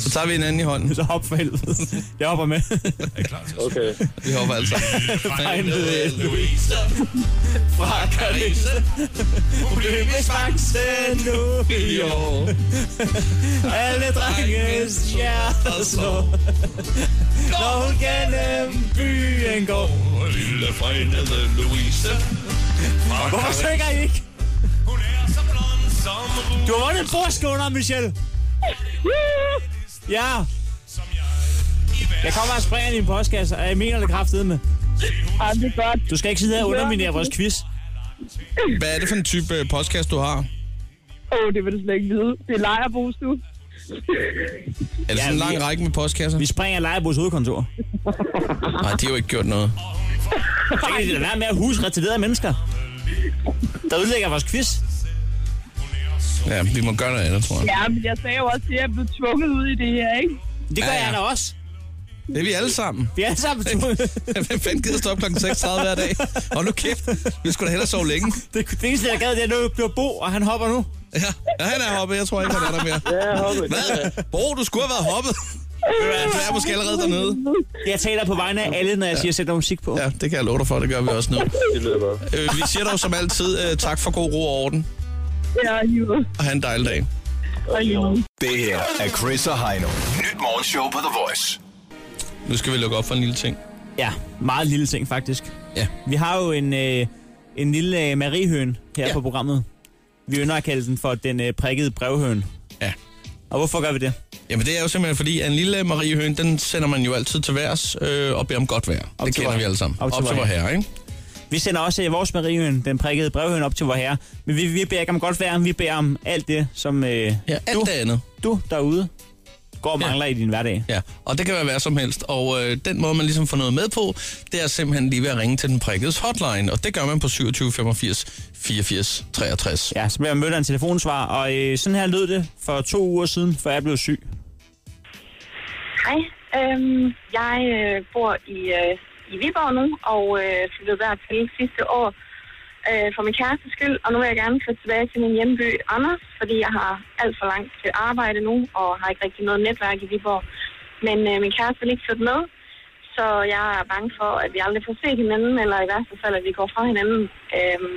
Speaker 3: Så tager vi hinanden i hånden.
Speaker 4: så hop for helvede. Jeg hopper med.
Speaker 6: Okay.
Speaker 3: Vi hopper altså.
Speaker 4: Regnede Louise fra Karise. Hun løbes fangste nu i år. Alle drenges hjerter slår. Når hun gennem byen går.
Speaker 11: Lille forenede Louise.
Speaker 4: Hvorfor synger I ikke?
Speaker 11: Hun er så blond som
Speaker 4: Du har vundet en bordskunder, Michelle. Ja,
Speaker 11: som jeg. I
Speaker 4: jeg kommer og springer i en postkasse, og jeg mener det kraftedeme.
Speaker 10: Ej, det er godt.
Speaker 4: Du skal ikke sidde her og underminere vores quiz.
Speaker 3: Hvad er det for en type øh, podcast, du har?
Speaker 10: Åh, oh, det vil du slet ikke vide. Det er lejerbos nu.
Speaker 3: Er det sådan en
Speaker 4: Ja, vi-
Speaker 3: lang række med postkasser?
Speaker 4: Vi springer Lejrebos hovedkontor.
Speaker 3: Nej, de har jo ikke gjort noget.
Speaker 4: Så kan de da være med at huse retarderede mennesker. Der udlægger vores quiz.
Speaker 3: Ja, vi må gøre noget andet, tror jeg.
Speaker 10: Ja, men jeg sagde jo også, at jeg blev tvunget ud i det her, ikke?
Speaker 4: Det gør
Speaker 3: Ja,
Speaker 4: ja,
Speaker 3: ja.
Speaker 4: ja. jeg da også.
Speaker 3: Det er vi alle sammen.
Speaker 4: Vi er alle sammen
Speaker 3: Hvem fanden gider stå op kl. 6.30 hver dag? Hold nu kæft. Vi skulle da hellere sove længe.
Speaker 4: Det, det eneste, jeg gad, det er, at nu bliver Bo, og han hopper nu.
Speaker 3: Ja, ja han er hoppet. Jeg tror ikke, han er der mere.
Speaker 6: Ja, hoppe.
Speaker 3: Hvad? Bro, du skulle have været hoppet. Han er måske allerede dernede.
Speaker 4: Jeg taler på vegne af alle, når jeg siger, sæt noget musik på.
Speaker 3: Ja, det kan jeg love dig for. Det gør vi også nu.
Speaker 6: Det lyder godt.
Speaker 3: Øh, vi siger dog som altid øh, tak for god ro og orden.
Speaker 10: Ja, jo.
Speaker 3: Og have en dejlig dag.
Speaker 10: Og jo.
Speaker 5: Det her er Chris og Heino. Nyt morgenshow på The Voice.
Speaker 3: Nu skal vi lukke op for en lille ting.
Speaker 4: ja meget lille ting, faktisk.
Speaker 3: Ja.
Speaker 4: Vi har jo en, øh, en lille øh, mariehøn her
Speaker 3: Ja.
Speaker 4: ja. på programmet. Vi ynder at kalde den for den øh, prikkede brevhøn.
Speaker 3: Ja.
Speaker 4: Og hvorfor gør vi det?
Speaker 3: Jamen det er jo simpelthen fordi, at en lille Marie Høen, den sender man jo altid til værs øh, og beder om godt vejr.
Speaker 4: Op
Speaker 3: det
Speaker 4: til
Speaker 3: kender
Speaker 4: vor-
Speaker 3: vi alle sammen.
Speaker 4: op til
Speaker 3: Op til
Speaker 4: vor
Speaker 3: vor herre, ikke?
Speaker 4: Vi sender også øh, vores mariehøn, den prikkede brevhøn, op til vor herre. Men vi, vi beder ikke om godt vejr, vi beder om alt det, som øh,
Speaker 3: Ja, alt det andet.
Speaker 4: du derude går og
Speaker 3: Ja.
Speaker 4: mangler ja. i din hverdag.
Speaker 3: Ja, og det kan være hvad som helst. Og øh, den måde, man ligesom får noget med på, det er simpelthen lige ved at ringe til den prikkedes hotline. Og det gør man på 27 85 84 63.
Speaker 4: Ja, så bliver jeg mødt af en telefonsvar, og øh, sådan her lød det for to uger siden, før jeg blev syg.
Speaker 7: Hej. Øhm, jeg øh, bor i, øh, i Viborg nu, og øh, flyttede dertil sidste år øh, for min kærestes skyld. Og nu vil jeg gerne flytte tilbage til min hjemby, Anders, fordi jeg har alt for langt til arbejde nu, og har ikke rigtig noget netværk i Viborg. Men øh, min kæreste vil ikke flytte med, så jeg er bange for, at vi aldrig får set hinanden, eller i værste fald, at vi går fra hinanden. Øhm,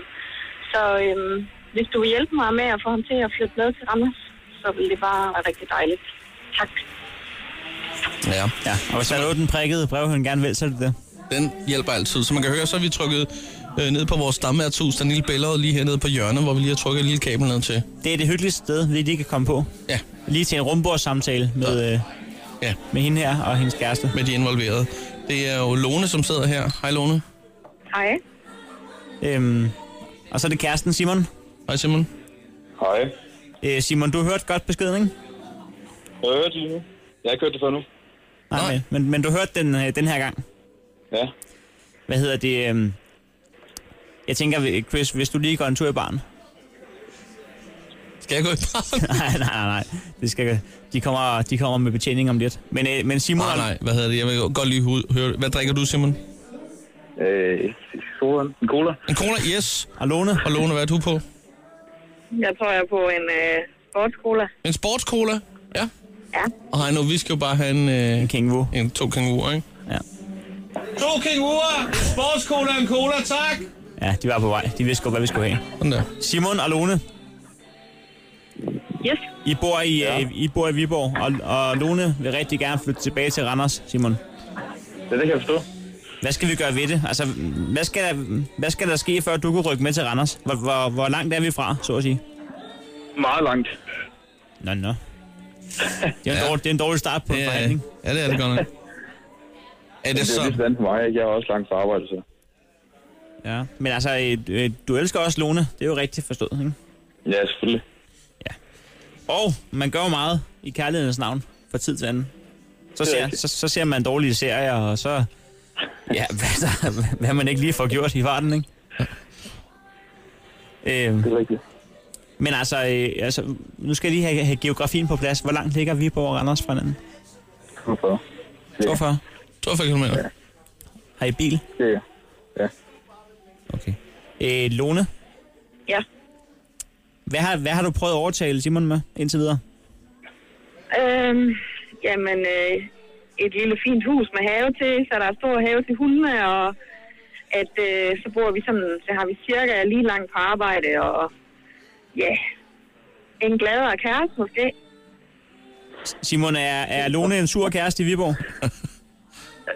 Speaker 7: så øhm, hvis du vil hjælpe mig med at få ham til at flytte med til Randers, så vil det bare være rigtig dejligt. Tak.
Speaker 3: Ja.
Speaker 4: Ja, og hvis der er noget, den prikkede brevhøn gerne vil, så er det det.
Speaker 3: Den hjælper altid. Som man kan høre, så har vi trykket øh, ned på vores stamværtshus, den lille billede lige hernede på hjørnet, hvor vi lige har trykket et lille kabel ned til.
Speaker 4: Det er det hyggeligste sted, lige de kan komme på.
Speaker 3: Ja,
Speaker 4: Lige til en rumbordssamtale med, øh,
Speaker 3: Ja.
Speaker 4: ja. med hende her og hendes kæreste.
Speaker 3: med de involverede. Det er jo Lone, som sidder her. Hej Lone.
Speaker 7: Hej.
Speaker 4: Øhm, og så er det kæresten Simon.
Speaker 3: Hej Simon.
Speaker 6: Hej.
Speaker 4: Øh, Simon, du har hørt godt beskeden, ikke?
Speaker 6: Jeg hører det nu. Jeg har ikke hørt det før nu.
Speaker 3: Nej.
Speaker 4: men- Men, men du hørte den, øh, den her gang.
Speaker 6: Ja.
Speaker 4: Hvad hedder det? Øhm, jeg tænker, Chris, hvis du lige går en tur i barn.
Speaker 3: Skal jeg gå i barn?
Speaker 4: nej, nej, nej, nej. Det skal, de, kommer, de kommer med betjening om lidt. Men, øh, men Simon...
Speaker 3: Nej, nej, hvad hedder det? Jeg vil godt lige hu- høre, hvad drikker du Simon?
Speaker 6: Øh, solen. En cola.
Speaker 3: En cola, yes.
Speaker 4: Og Lone?
Speaker 3: Og Lone, hvad er du på?
Speaker 7: Jeg tror, jeg er på en øh, sportsskole.
Speaker 3: En sportscola? Ja.
Speaker 7: Ja.
Speaker 3: Og hej nu, vi skal jo bare have en, øh,
Speaker 4: En kængvu.
Speaker 3: en to kanguruer, ikke?
Speaker 4: Ja.
Speaker 3: To kanguruer, sportscola og en cola, tak!
Speaker 4: Ja, de var på vej. De vidste godt, hvad vi skulle have.
Speaker 3: Sådan der.
Speaker 4: Simon og Lone,
Speaker 7: Yes.
Speaker 4: I bor i, ja. I bor i Viborg, og, og Lone vil rigtig gerne flytte tilbage til Randers, Simon.
Speaker 6: Ja, det kan jeg forstå.
Speaker 4: Hvad skal vi gøre ved det? Altså, hvad skal der, hvad skal der ske, før du kan rykke med til Randers? Hvor, hvor, hvor langt er vi fra, så at sige?
Speaker 6: Meget langt.
Speaker 4: Nå, nå. Det er en,
Speaker 3: Ja.
Speaker 4: ja. dårlig, det er en dårlig start på en
Speaker 3: Ja,
Speaker 4: forhandling.
Speaker 3: ja, det er det godt nok. Er det
Speaker 6: Det er
Speaker 3: så?
Speaker 6: lidt vand for mig. ikke? Jeg er også langt fra arbejde, så.
Speaker 4: Ja. Men altså, øh, øh, du elsker også Lone. Det er jo rigtigt forstået, ikke?
Speaker 6: Ja, selvfølgelig.
Speaker 4: Og man gør jo meget i kærlighedens navn fra tid til anden. Så
Speaker 6: Det er
Speaker 4: ser,
Speaker 6: rigtigt.
Speaker 4: så, så ser man dårlige serier, og så... Ja, hvad, der, hvad man ikke lige får gjort i farten, ikke? Øhm, det
Speaker 6: er rigtigt.
Speaker 4: Men altså, øh, altså, nu skal jeg lige have, have geografien på plads. Hvor langt ligger Viborg og Randers fra hinanden?
Speaker 6: 42.
Speaker 4: 42?
Speaker 3: 42 km. Ja.
Speaker 4: Har I bil?
Speaker 6: Ja. ja.
Speaker 4: Okay. Øh, Lone?
Speaker 7: Ja.
Speaker 4: Hvad har, hvad har du prøvet at overtale Simon med indtil videre?
Speaker 7: Øhm, jamen, øh, et lille fint hus med have til, så der er stor have til hundene, og at øh, så bor vi sådan, så har vi cirka lige langt på arbejde, og ja, en gladere kæreste måske.
Speaker 4: Simon, er, er Lone en sur kæreste i Viborg?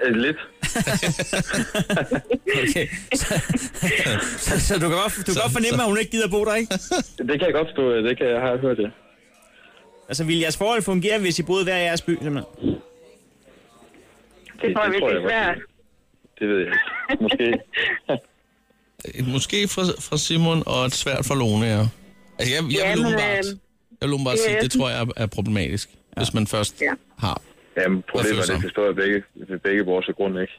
Speaker 6: Øh, Lidt.
Speaker 4: okay. Så, så, så du kan godt, du kan godt fornemme, at hun ikke gider bo der, ikke?
Speaker 6: Det kan jeg godt forstå, øh, det kan jeg har jeg hørt, ja.
Speaker 4: Altså, ville jeres forhold fungere, hvis I boede hver i jeres by, simpelthen?
Speaker 7: Det, tror jeg,
Speaker 6: det
Speaker 7: det
Speaker 6: tror
Speaker 7: er
Speaker 6: jeg
Speaker 7: svært.
Speaker 6: Det ved jeg ikke. Måske.
Speaker 3: Et Øh, måske fra, fra Simon og et svært fra Lone, ja. Altså, jeg, jeg,
Speaker 7: Ja,
Speaker 3: vil
Speaker 7: men,
Speaker 3: umiddelbart,
Speaker 7: øhm,
Speaker 3: jeg vil umiddelbart
Speaker 7: det er
Speaker 3: sige, det
Speaker 7: sådan-
Speaker 3: tror jeg er- er problematisk, ja. hvis man først
Speaker 7: Ja.
Speaker 3: har.
Speaker 6: Jamen,
Speaker 3: Hvad
Speaker 6: problemet er, det
Speaker 3: føler du?
Speaker 6: forstår jeg begge, ved begge vores grund, ikke?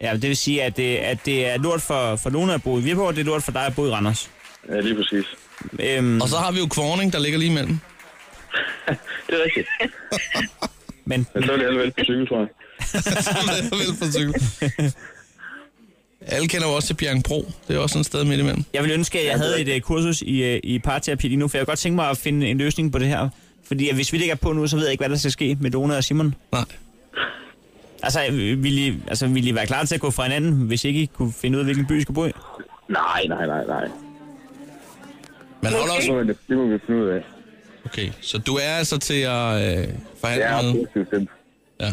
Speaker 4: Ja, det vil sige, at det, at det er lort for, for Lone at bo i Viborg, og det er lort for dig at bo i Randers.
Speaker 6: Ja, lige præcis.
Speaker 4: Øhm,
Speaker 3: Og så har vi jo Kvorning, der ligger lige imellem.
Speaker 6: Det er rigtigt.
Speaker 4: men,
Speaker 6: Men så er det alligevel på cykel, tror jeg.
Speaker 3: Som er vel på cykel. Alle kender jo også til Bjergbro. Det er også sådan et sted midt imellem.
Speaker 4: jeg ville ønske, at jeg havde et uh, kursus i, uh, i parterapi lige nu, for jeg kunne godt tænke mig at finde en løsning på det her. Fordi at hvis vi ligger på nu, så ved jeg ikke, hvad der skal ske med Lone og Simon.
Speaker 3: Nej.
Speaker 4: Altså, øh, ville I, altså, ville I være klar til at gå fra hinanden, hvis ikke I kunne finde ud af, hvilken by I skulle bo i?
Speaker 6: Nej, nej, nej, nej.
Speaker 3: Man holder
Speaker 6: Det
Speaker 3: også...
Speaker 6: må, det må vi finde ud af.
Speaker 3: Okay, så du er altså til at øh, forhandle
Speaker 6: Ja,
Speaker 3: med...
Speaker 6: positivt stemt.
Speaker 3: Ja.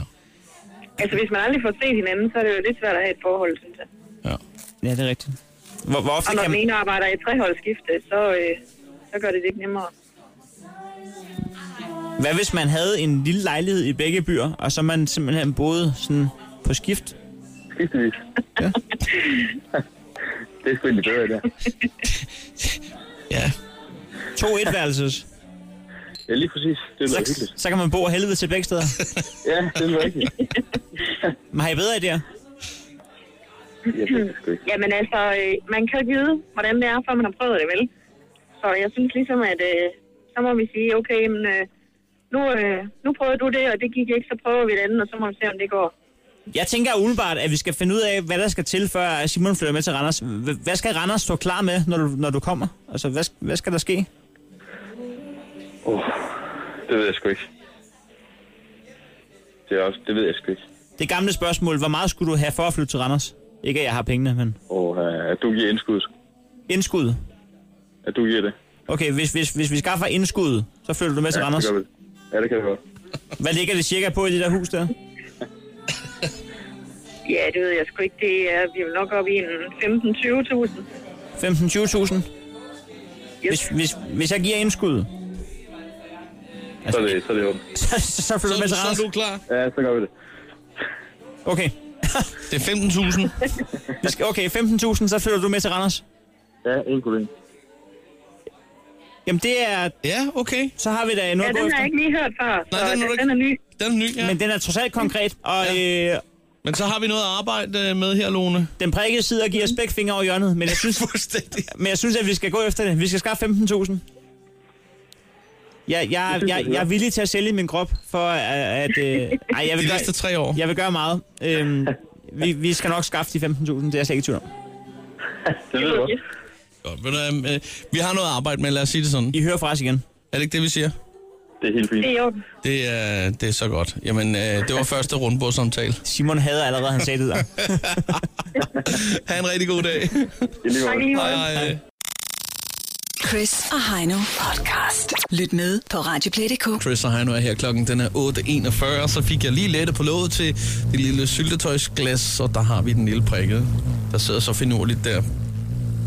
Speaker 7: Altså, hvis man aldrig får set hinanden, så er det jo lidt svært at have et forhold, synes jeg.
Speaker 4: Ja, det er rigtigt. Hvor, hvor ofte
Speaker 7: Og når
Speaker 4: kan
Speaker 7: den
Speaker 4: man...
Speaker 7: ene arbejder i treholdsskifte, så, øh, så gør det det ikke nemmere.
Speaker 4: Hvad hvis man havde en lille lejlighed i begge byer, og så man simpelthen boede sådan på skift?
Speaker 6: Skiftevis.
Speaker 4: Ja.
Speaker 6: det er sgu egentlig bedre, der.
Speaker 3: Ja.
Speaker 4: To etværelses.
Speaker 6: Ja, lige præcis. Det er noget
Speaker 4: Så,
Speaker 6: hyggeligt.
Speaker 4: så kan man bo af helvede til begge steder.
Speaker 6: Ja, det er noget rigtigt.
Speaker 4: Men har I bedre idéer?
Speaker 6: Jeg ved det sgu ikke.
Speaker 7: Jamen altså, øh, man kan jo ikke vide, hvordan det er, før man har prøvet det, vel? Så jeg synes ligesom, at øh, så må vi sige, okay, men, øh, nu, øh, nu prøvede du det, og det gik ikke, så prøver vi det andet, og så må vi se, om det går.
Speaker 4: Jeg tænker umiddelbart, at vi skal finde ud af, hvad der skal til, før Simon flytter med til Randers. H- Hvad skal Randers stå klar med, når du, når du kommer? Altså, hvad, sk- hvad skal der ske?
Speaker 6: Det ved jeg sgu ikke. Det, er også, det ved jeg sgu ikke.
Speaker 4: Det gamle spørgsmål, hvor meget skulle du have for at flytte til Randers? Ikke at jeg har pengene, men
Speaker 6: Og øh, at du giver indskud.
Speaker 4: indskud.
Speaker 6: At du giver det.
Speaker 4: Okay, hvis, hvis, hvis vi skaffer indskud, så flytter du med til
Speaker 6: Ja,
Speaker 4: Randers.
Speaker 6: det gør vi. Ja, det kan vi godt.
Speaker 4: Hvad ligger det cirka på i det der hus der?
Speaker 7: Ja, det ved jeg sgu ikke. Det er, vi er jo nok oppe i en 15-20.000.
Speaker 4: 15-20.000? Hvis, hvis, hvis jeg giver indskud,
Speaker 3: Altså,
Speaker 6: Så er det, så er det åbent.
Speaker 4: så, så, så flytter du med
Speaker 3: Så
Speaker 4: til
Speaker 3: er
Speaker 4: Randers.
Speaker 3: du klar.
Speaker 6: Ja, så gør vi det.
Speaker 4: Okay,
Speaker 3: Det er 15.000.
Speaker 4: Vi skal- okay 15.000, så flytter du med til Randers.
Speaker 6: Ja, ingen problem.
Speaker 4: Jamen det er,
Speaker 3: Ja, okay.
Speaker 4: så har vi da
Speaker 7: Ja,
Speaker 4: noget at gå
Speaker 7: den har jeg ikke
Speaker 4: efter.
Speaker 7: lige hørt før, så
Speaker 3: Nej, den
Speaker 7: den,
Speaker 3: har du ikke-
Speaker 7: den er ny.
Speaker 3: Den er ny, ja.
Speaker 4: Men den er totalt konkret, og øh,
Speaker 3: Men så har vi noget at arbejde øh, med her, Lone.
Speaker 4: den prikkede side giver spækfinger over hjørnet, men jeg, synes,
Speaker 3: Fuldstændig.
Speaker 4: men jeg synes, at vi skal gå efter det. Vi skal skaffe 15.000. Jeg, jeg, jeg, jeg er villig til at sælge min krop, for at... at øh, ej, jeg
Speaker 3: De
Speaker 4: vil
Speaker 3: næste
Speaker 4: gøre,
Speaker 3: tre år.
Speaker 4: jeg vil gøre meget. Øhm, vi, vi skal nok skaffe de 15.000, det er jeg slet ikke i tvivl om.
Speaker 6: Det ved jeg godt.
Speaker 3: Godt, ved du, hvad, øh, vi har noget at arbejde med, lad os sige det sådan.
Speaker 4: I hører fra os igen.
Speaker 3: Er det ikke det, vi siger?
Speaker 6: Det er helt fint.
Speaker 7: Det er i orden.
Speaker 3: Det er, det er så godt. Jamen, øh, det var første rundbordssamtale.
Speaker 4: Simon hader allerede, han sagde det der.
Speaker 3: Ha' en rigtig god dag.
Speaker 6: Det er lige
Speaker 7: Tak
Speaker 6: godt.
Speaker 7: lige måde.
Speaker 3: Hej.
Speaker 2: Chris og Heino podcast. Lyt med på Radioplay.dk.
Speaker 3: Chris og Heino er her. Klokken den er 8.41, så fik jeg lige lettet på låget til det lille syltetøjsglas, og der har vi den lille prikkede, der sidder så finurligt der,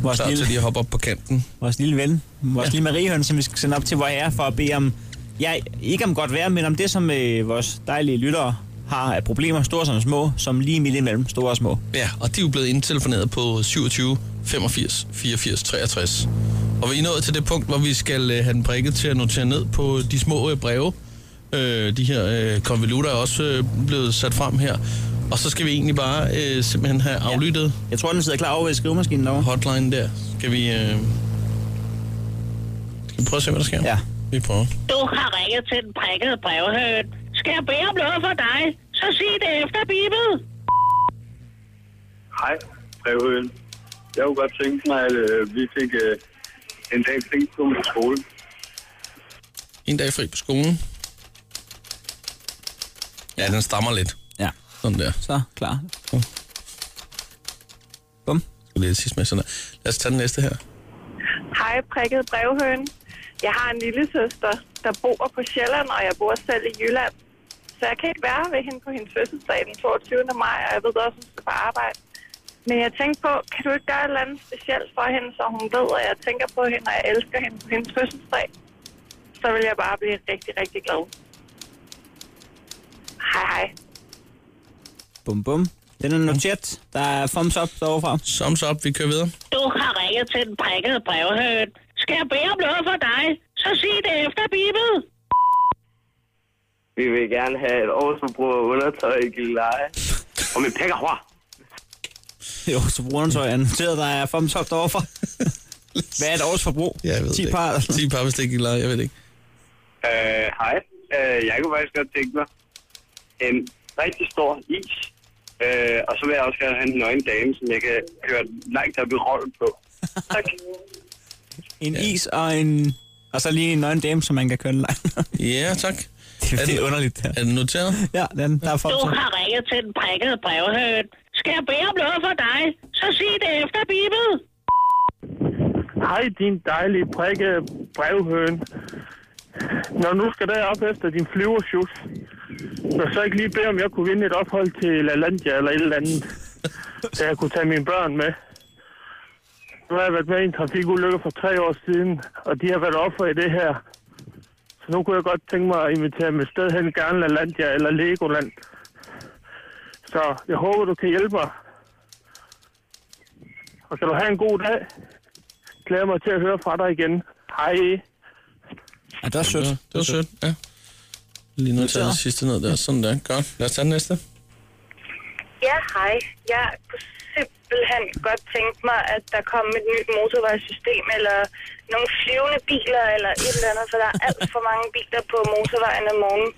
Speaker 4: Vores
Speaker 3: klar til
Speaker 4: lille,
Speaker 3: lige at hoppe op på kanten.
Speaker 4: vores lille ven, vores ja. lille Mariehøn, som vi skal sende op til vor ære for at bede om, ja, ikke om godt vejr, men om det, som øh, vores dejlige lyttere har af problemer, store som små, som lige midt imellem, store og små.
Speaker 3: Ja, og de er jo blevet indtelefoneret på 27 85 84 63. Og vi er nået til det punkt, hvor vi skal øh, have den prikket til at notere ned på de små øh, breve. Øh, de her øh, konvolutter er også øh, blevet sat frem her. Og så skal vi egentlig bare øh, simpelthen have aflyttet. Ja.
Speaker 4: Jeg tror, den sidder klar over ved skrivemaskinen derovre.
Speaker 3: Hotline der. Skal vi... Øh... Skal vi prøve at se, hvad der sker? Ja. Vi prøver.
Speaker 12: Du har ringet til den prikkede brevhøn. Skal jeg bede om noget for dig, så sig det efter bibel.
Speaker 9: Hej, brevhøen. Jeg kunne godt tænke mig, at øh, vi fik øh, en dag fri på min skole.
Speaker 3: En dag fri på skolen. Ja, den stammer lidt.
Speaker 4: Ja.
Speaker 3: Sådan der.
Speaker 4: Så, klar. Bum.
Speaker 3: Skal lige sidst med sådan der. Lad os tage den næste her.
Speaker 13: Hej, prikket brevhøen. Jeg har en lille søster, der bor på Sjælland, og jeg bor selv i Jylland. Så jeg kan ikke være ved hende på hendes fødselsdag den 22. maj, og jeg ved også, at hun skal på arbejde. Men jeg tænkte på, kan du ikke gøre et eller andet specielt for hende, så hun ved, at jeg tænker på hende, og jeg elsker hende på hendes fødselsdag? Så vil jeg bare blive rigtig, rigtig glad. Hej, hej.
Speaker 4: Bum, bum. Den er noteret. Der er thumbs up derovre.
Speaker 3: Thumbs up, vi kører videre.
Speaker 12: Du har ringet til den prikkede brevhøn. Skal jeg bede om noget for dig, så sig det efter bibel.
Speaker 6: Vi vil gerne have et årsforbrug af undertøj i Gilleleje. Og min pækker hår.
Speaker 4: Jo, så brugeren så er noteret, der er thumbs up derovre. Hvad er et års forbrug?
Speaker 3: Ja, jeg ved
Speaker 4: 10
Speaker 3: det
Speaker 4: par.
Speaker 3: ikke. 10 par, hvis det ikke er jeg ved det ikke.
Speaker 9: Øh, hej. Øh, jeg kunne faktisk godt tænke mig en rigtig stor is. Øh, og så vil jeg også gerne have en nøgen dame, som jeg kan køre langt op i rollen på.
Speaker 4: En ja. is og en... Og så lige en nøgen dame, som man kan køre langt.
Speaker 3: Ja, tak.
Speaker 4: Det, det er underligt. Ja.
Speaker 3: Er den noteret?
Speaker 4: Ja, den, der er
Speaker 12: Du
Speaker 4: thumbs up.
Speaker 12: har ringet til den prikkede brevhøn. Skal jeg bede om noget for dig, så sig det efter bibel.
Speaker 9: Hej, din dejlige prikke brevhøn. Når nu skal derop efter din flyvershus, så så ikke lige bede, om jeg kunne vinde et ophold til LaLandia eller et eller andet, så jeg kunne tage mine børn med. Nu har jeg været med i en trafikulykke for tre år siden, og de har været offer i det her. Så nu kunne jeg godt tænke mig at invitere mig et sted hen, gerne LaLandia eller Legoland. Så jeg håber, du kan hjælpe mig. Og kan du have en god dag? glæder mig til at høre fra dig igen. Hej.
Speaker 4: Ja, det var sødt.
Speaker 3: Det var sødt, ja. Lige nu tager jeg det sidste ned der. Sådan der. Godt. Lad os tage den næste.
Speaker 13: Ja, hej. Jeg kunne simpelthen godt tænke mig, at der kom et nyt motorvejssystem, eller nogle flyvende biler, eller et eller andet, for der er alt for mange biler på motorvejen om morgenen.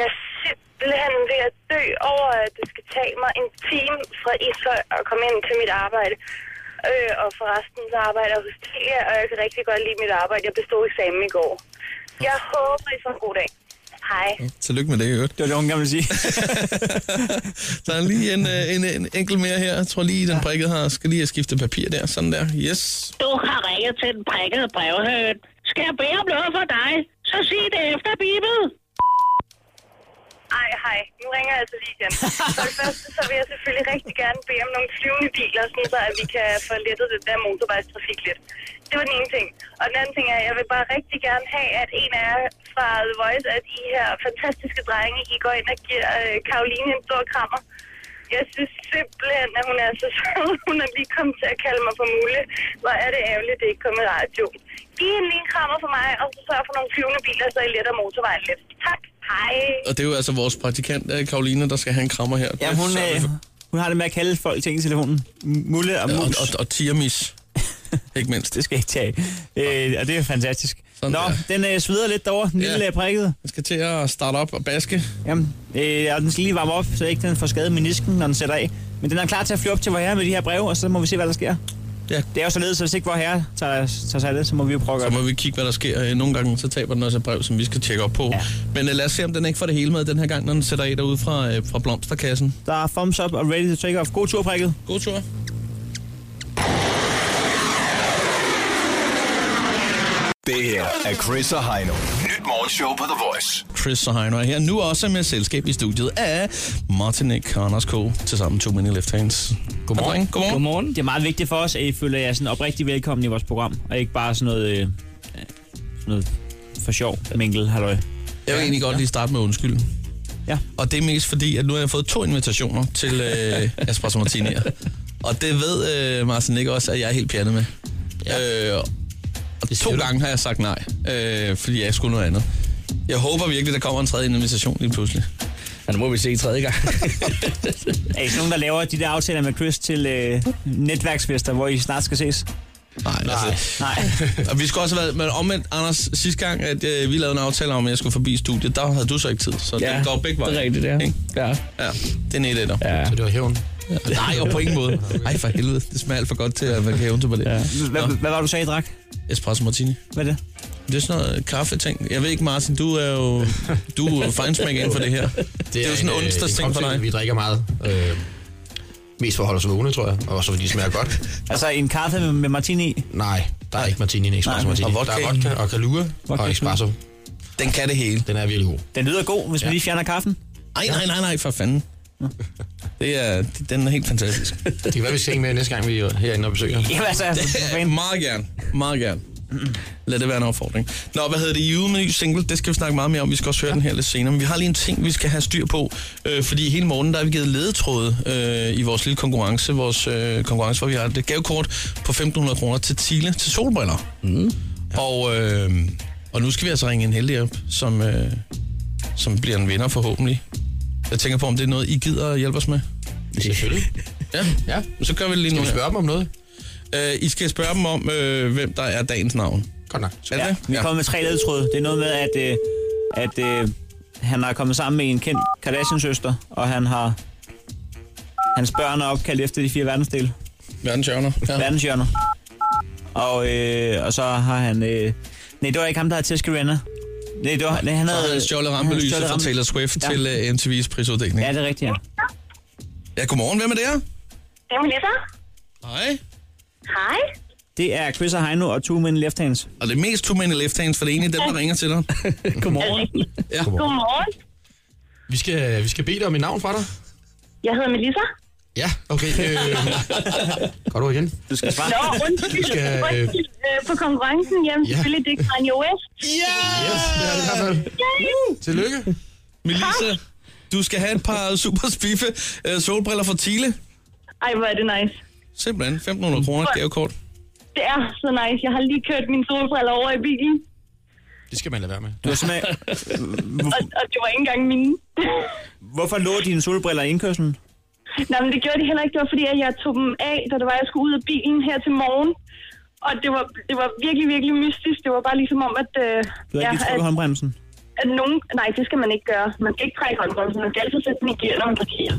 Speaker 13: Jeg er simpelthen ved at dø over, at det skal tage mig en time fra Ishøj og komme ind til mit arbejde. Øh, og forresten så arbejder jeg hos Telia, og jeg kan rigtig godt lide mit arbejde. Jeg bestod eksamen i går. Jeg håber, I får en god dag. Hej.
Speaker 3: Tillykke med det, i øvrigt.
Speaker 4: Det var det, hun gerne ville sige.
Speaker 3: Der er lige en, øh, en, en enkelt mere her. Jeg tror lige, den prikket her. Skal lige have skiftet papir der. Sådan der. Yes.
Speaker 12: Du har ringet til den prikkede brevhøn. Skal jeg bede om noget for dig, så sig det efter bibel.
Speaker 13: Ej, hej. Nu ringer jeg altså lige igen. For det første, så vil jeg selvfølgelig rigtig gerne bede om nogle flyvende biler, sådan så at vi kan få lettet det der motorvejstrafik lidt. Det var den ene ting. Og den anden ting er, at jeg vil bare rigtig gerne have, at en af jer fra The Voice, at I her fantastiske drenge, I går ind og giver øh, Karoline en stor krammer. Jeg synes simpelthen, at hun er så sød. Hun er lige kommet til at kalde mig for mulig. Hvor er det ærgerligt, at det ikke kom i radioen. Giv hende lige en krammer for mig, og så sørg for nogle flyvende biler, så I letter motorvejen lidt. Tak. Hej.
Speaker 3: Og det er jo altså vores praktikant, øh, Karoline, der skal have en krammer her.
Speaker 4: Ja, hun,
Speaker 3: Så-
Speaker 4: øh, hun har det med at kalde folk ting i telefonen. Mulle og
Speaker 3: og,
Speaker 4: mus.
Speaker 3: og, og tiramis. Ikke mindst.
Speaker 4: Det skal jeg ikke tage. Øh, og det er fantastisk. Nå, den øh, sveder lidt derovre, den lille øh, prikket.
Speaker 3: Den skal til at starte op og baske.
Speaker 4: Jamen, øh, og den skal lige varme op, så ikke den får skadet menisken, når den sætter af. Men den er klar til at flyve op til vor herre med de her breve, og så må vi se, hvad der sker.
Speaker 3: Ja.
Speaker 4: Det er jo således, at hvis ikke vor herre tager, tager sig af det, så må vi jo prøve at gøre
Speaker 3: Så må vi kigge, hvad der sker. Øh, Nogle gange så taber den også et brev, som vi skal tjekke op på. Ja. Men øh, lad os se, om den ikke får det hele med den her gang, når den sætter af derude fra, øh, fra blomsterkassen.
Speaker 4: det. Der er thumbs up og ready to take off. God tur, prikket.
Speaker 3: God tur.
Speaker 5: Det her er Chris og Heino. Nyt morgenshow på The Voice.
Speaker 3: Chris og Heino er her nu også med selskab i studiet af Martinik og Anders K. Tilsammen to mini left hands. Godmorgen. Godmorgen.
Speaker 4: Godmorgen. Det er meget vigtigt for os, at I føler jer sådan oprigtig velkommen i vores program, og ikke bare sådan noget, øh, øh, sådan noget for sjov, minkel, halløj.
Speaker 3: Jeg vil egentlig godt lige starte med undskyld. Ja. Og det er mest fordi, at nu har jeg fået to invitationer til øh, Espresso Martini'er. Og det ved øh, Martin ikke også, at jeg er helt pjernet med. Ja. Øh, og to gange har jeg sagt nej, øh, fordi jeg skulle noget andet. Jeg håber virkelig, der kommer en tredje invitation lige pludselig. Ja, nu må vi se i tredje gang.
Speaker 4: Er I sådan nogen, der laver de der aftaler med Chris til øh, netværksfester, hvor I snart skal ses?
Speaker 3: Nej, nej. Altså,
Speaker 4: nej.
Speaker 3: og vi skulle også have været, men omvendt, Anders, sidste gang, at øh, vi lavede en aftale om, at jeg skulle forbi studiet, der havde du så ikke tid, så ja,
Speaker 4: Ja,
Speaker 3: det går begge veje.
Speaker 4: det er rigtigt, ja.
Speaker 3: Ja. ja. det er en etter.
Speaker 4: Ja. Så
Speaker 3: det var hævn? Nej, jo, på ingen måde. Ej, for helvede, det smager alt for godt til, at man kan hævne sig på det. Ja.
Speaker 4: Hvad, hvad var det, du sagde, I drak?
Speaker 3: Espresso Martini.
Speaker 4: Hvad er det?
Speaker 3: Det er sådan noget kaffeting. Jeg ved ikke, Martin, du er jo, du er jo fejnsmæk inden for det her. Det er, det er jo sådan en
Speaker 14: øh,
Speaker 3: onsdagsting for
Speaker 14: cocktail,
Speaker 3: dig.
Speaker 14: Vi drikker meget. Øh, mest for at holde os vågne, tror jeg. Og så fordi det smager godt.
Speaker 4: Altså en kaffe med, med martini i?
Speaker 14: Nej, der er ikke martini i en espresso
Speaker 4: Nej.
Speaker 14: martini.
Speaker 4: Og vodka.
Speaker 14: Der er vodka og kalua
Speaker 4: Vodka.
Speaker 14: og espresso.
Speaker 3: Den kan det hele.
Speaker 14: Den er virkelig god.
Speaker 4: Den lyder god, hvis ja.
Speaker 14: Ja.
Speaker 4: man lige fjerner kaffen.
Speaker 3: Nej, nej, nej, nej, for fanden. Det er, den er helt fantastisk.
Speaker 14: Det kan være, vi skal hænge med næste gang, vi er herinde og besøger.
Speaker 4: Jamen altså, for
Speaker 3: Det, meget gerne, meget gerne. Lad det være en opfordring. Nå, hvad hedder det? I ude med en ny single, det skal vi snakke meget mere om. Vi skal også høre den her lidt senere. Men vi har lige en ting, vi skal have styr på. Øh, fordi hele morgen, der har vi givet ledetråde øh, i vores lille konkurrence. Vores øh, konkurrence, hvor vi har et gavekort på 1.500 kroner til Tile til solbriller. Mm. Og, øh, og nu skal vi altså ringe en heldig op, som, øh, som bliver en vinder forhåbentlig. Jeg tænker på, om det er noget, I gider at hjælpe os med.
Speaker 14: Selvfølgelig.
Speaker 3: Ja, ja. Så gør vi det lige nu.
Speaker 14: Skal vi spørge dem om noget?
Speaker 3: Øh, I skal spørge dem om, øh, hvem der er dagens navn.
Speaker 14: Godt nok.
Speaker 3: Er det
Speaker 4: Ja,
Speaker 3: det?
Speaker 4: vi kommer med tre ledtråde. Det er noget med, at, øh, at øh, han har kommet sammen med en kendt Kardashian-søster, og han har hans børn er opkaldt efter de fire verdensdele.
Speaker 3: Verdenshjørner. Ja.
Speaker 4: Verdenshjørner. Og, øh, og så har han... Øh, nej, det var ikke ham, der har Tiske Renner. Nej, det var, nej, han
Speaker 3: Så
Speaker 4: havde...
Speaker 3: havde han stjålet
Speaker 4: han havde
Speaker 3: rampelyset
Speaker 4: stjålet
Speaker 3: fra
Speaker 4: rampe-
Speaker 3: Taylor Swift
Speaker 4: ja.
Speaker 3: ja. til øh, MTV's prisuddeling.
Speaker 4: Ja, det er rigtigt, ja.
Speaker 3: Ja, godmorgen. Hvem er det her?
Speaker 10: Det er Melissa.
Speaker 3: Hej.
Speaker 10: Hej.
Speaker 4: Det er Chris og Heino og Two Men Left Hands.
Speaker 3: Og det er mest Two Men Left Hands, for det er egentlig dem, der ringer til dig.
Speaker 4: Godmorgen.
Speaker 3: Ja.
Speaker 10: Godmorgen.
Speaker 14: Vi skal, vi skal bede dig om et navn fra dig.
Speaker 10: Jeg hedder Melissa.
Speaker 14: Ja, okay. Øh, går du igen?
Speaker 4: Du skal svare.
Speaker 10: Nå, undskyld.
Speaker 14: Du skal, øh,
Speaker 10: undskyld. Øh, på konkurrencen, jamen
Speaker 14: Ja.
Speaker 10: selvfølgelig, det er Kanye West.
Speaker 14: Ja! Yes, det er det i hvert fald.
Speaker 10: Yay!
Speaker 14: Tillykke.
Speaker 3: Melissa, du skal have et par super spiffe øh, solbriller fra Thiele.
Speaker 10: Ej, hvor er det nice.
Speaker 3: Simpelthen. 1.500 kroner gavekort.
Speaker 10: Det er så nice. Jeg har lige kørt mine solbriller over i bilen,
Speaker 14: Det skal man lade være med.
Speaker 4: Du har simpelthen...
Speaker 10: og, og det var ikke engang mine.
Speaker 4: Hvorfor lå dine solbriller i indkørslen?
Speaker 10: Nå, men det gjorde de heller ikke. Det var fordi, at jeg tog dem af, da det var, jeg skulle ud af bilen her til morgen. Og det var, det var virkelig, virkelig mystisk. Det var bare ligesom om, at...
Speaker 4: Du
Speaker 10: Øh,
Speaker 4: har
Speaker 10: ja,
Speaker 4: ikke lige
Speaker 10: at,
Speaker 4: trukket håndbremsen.
Speaker 10: at nogen, nej, det skal man ikke gøre. Man skal ikke trække håndbremsen. Man skal altid sætte den i gear, når man parkerer.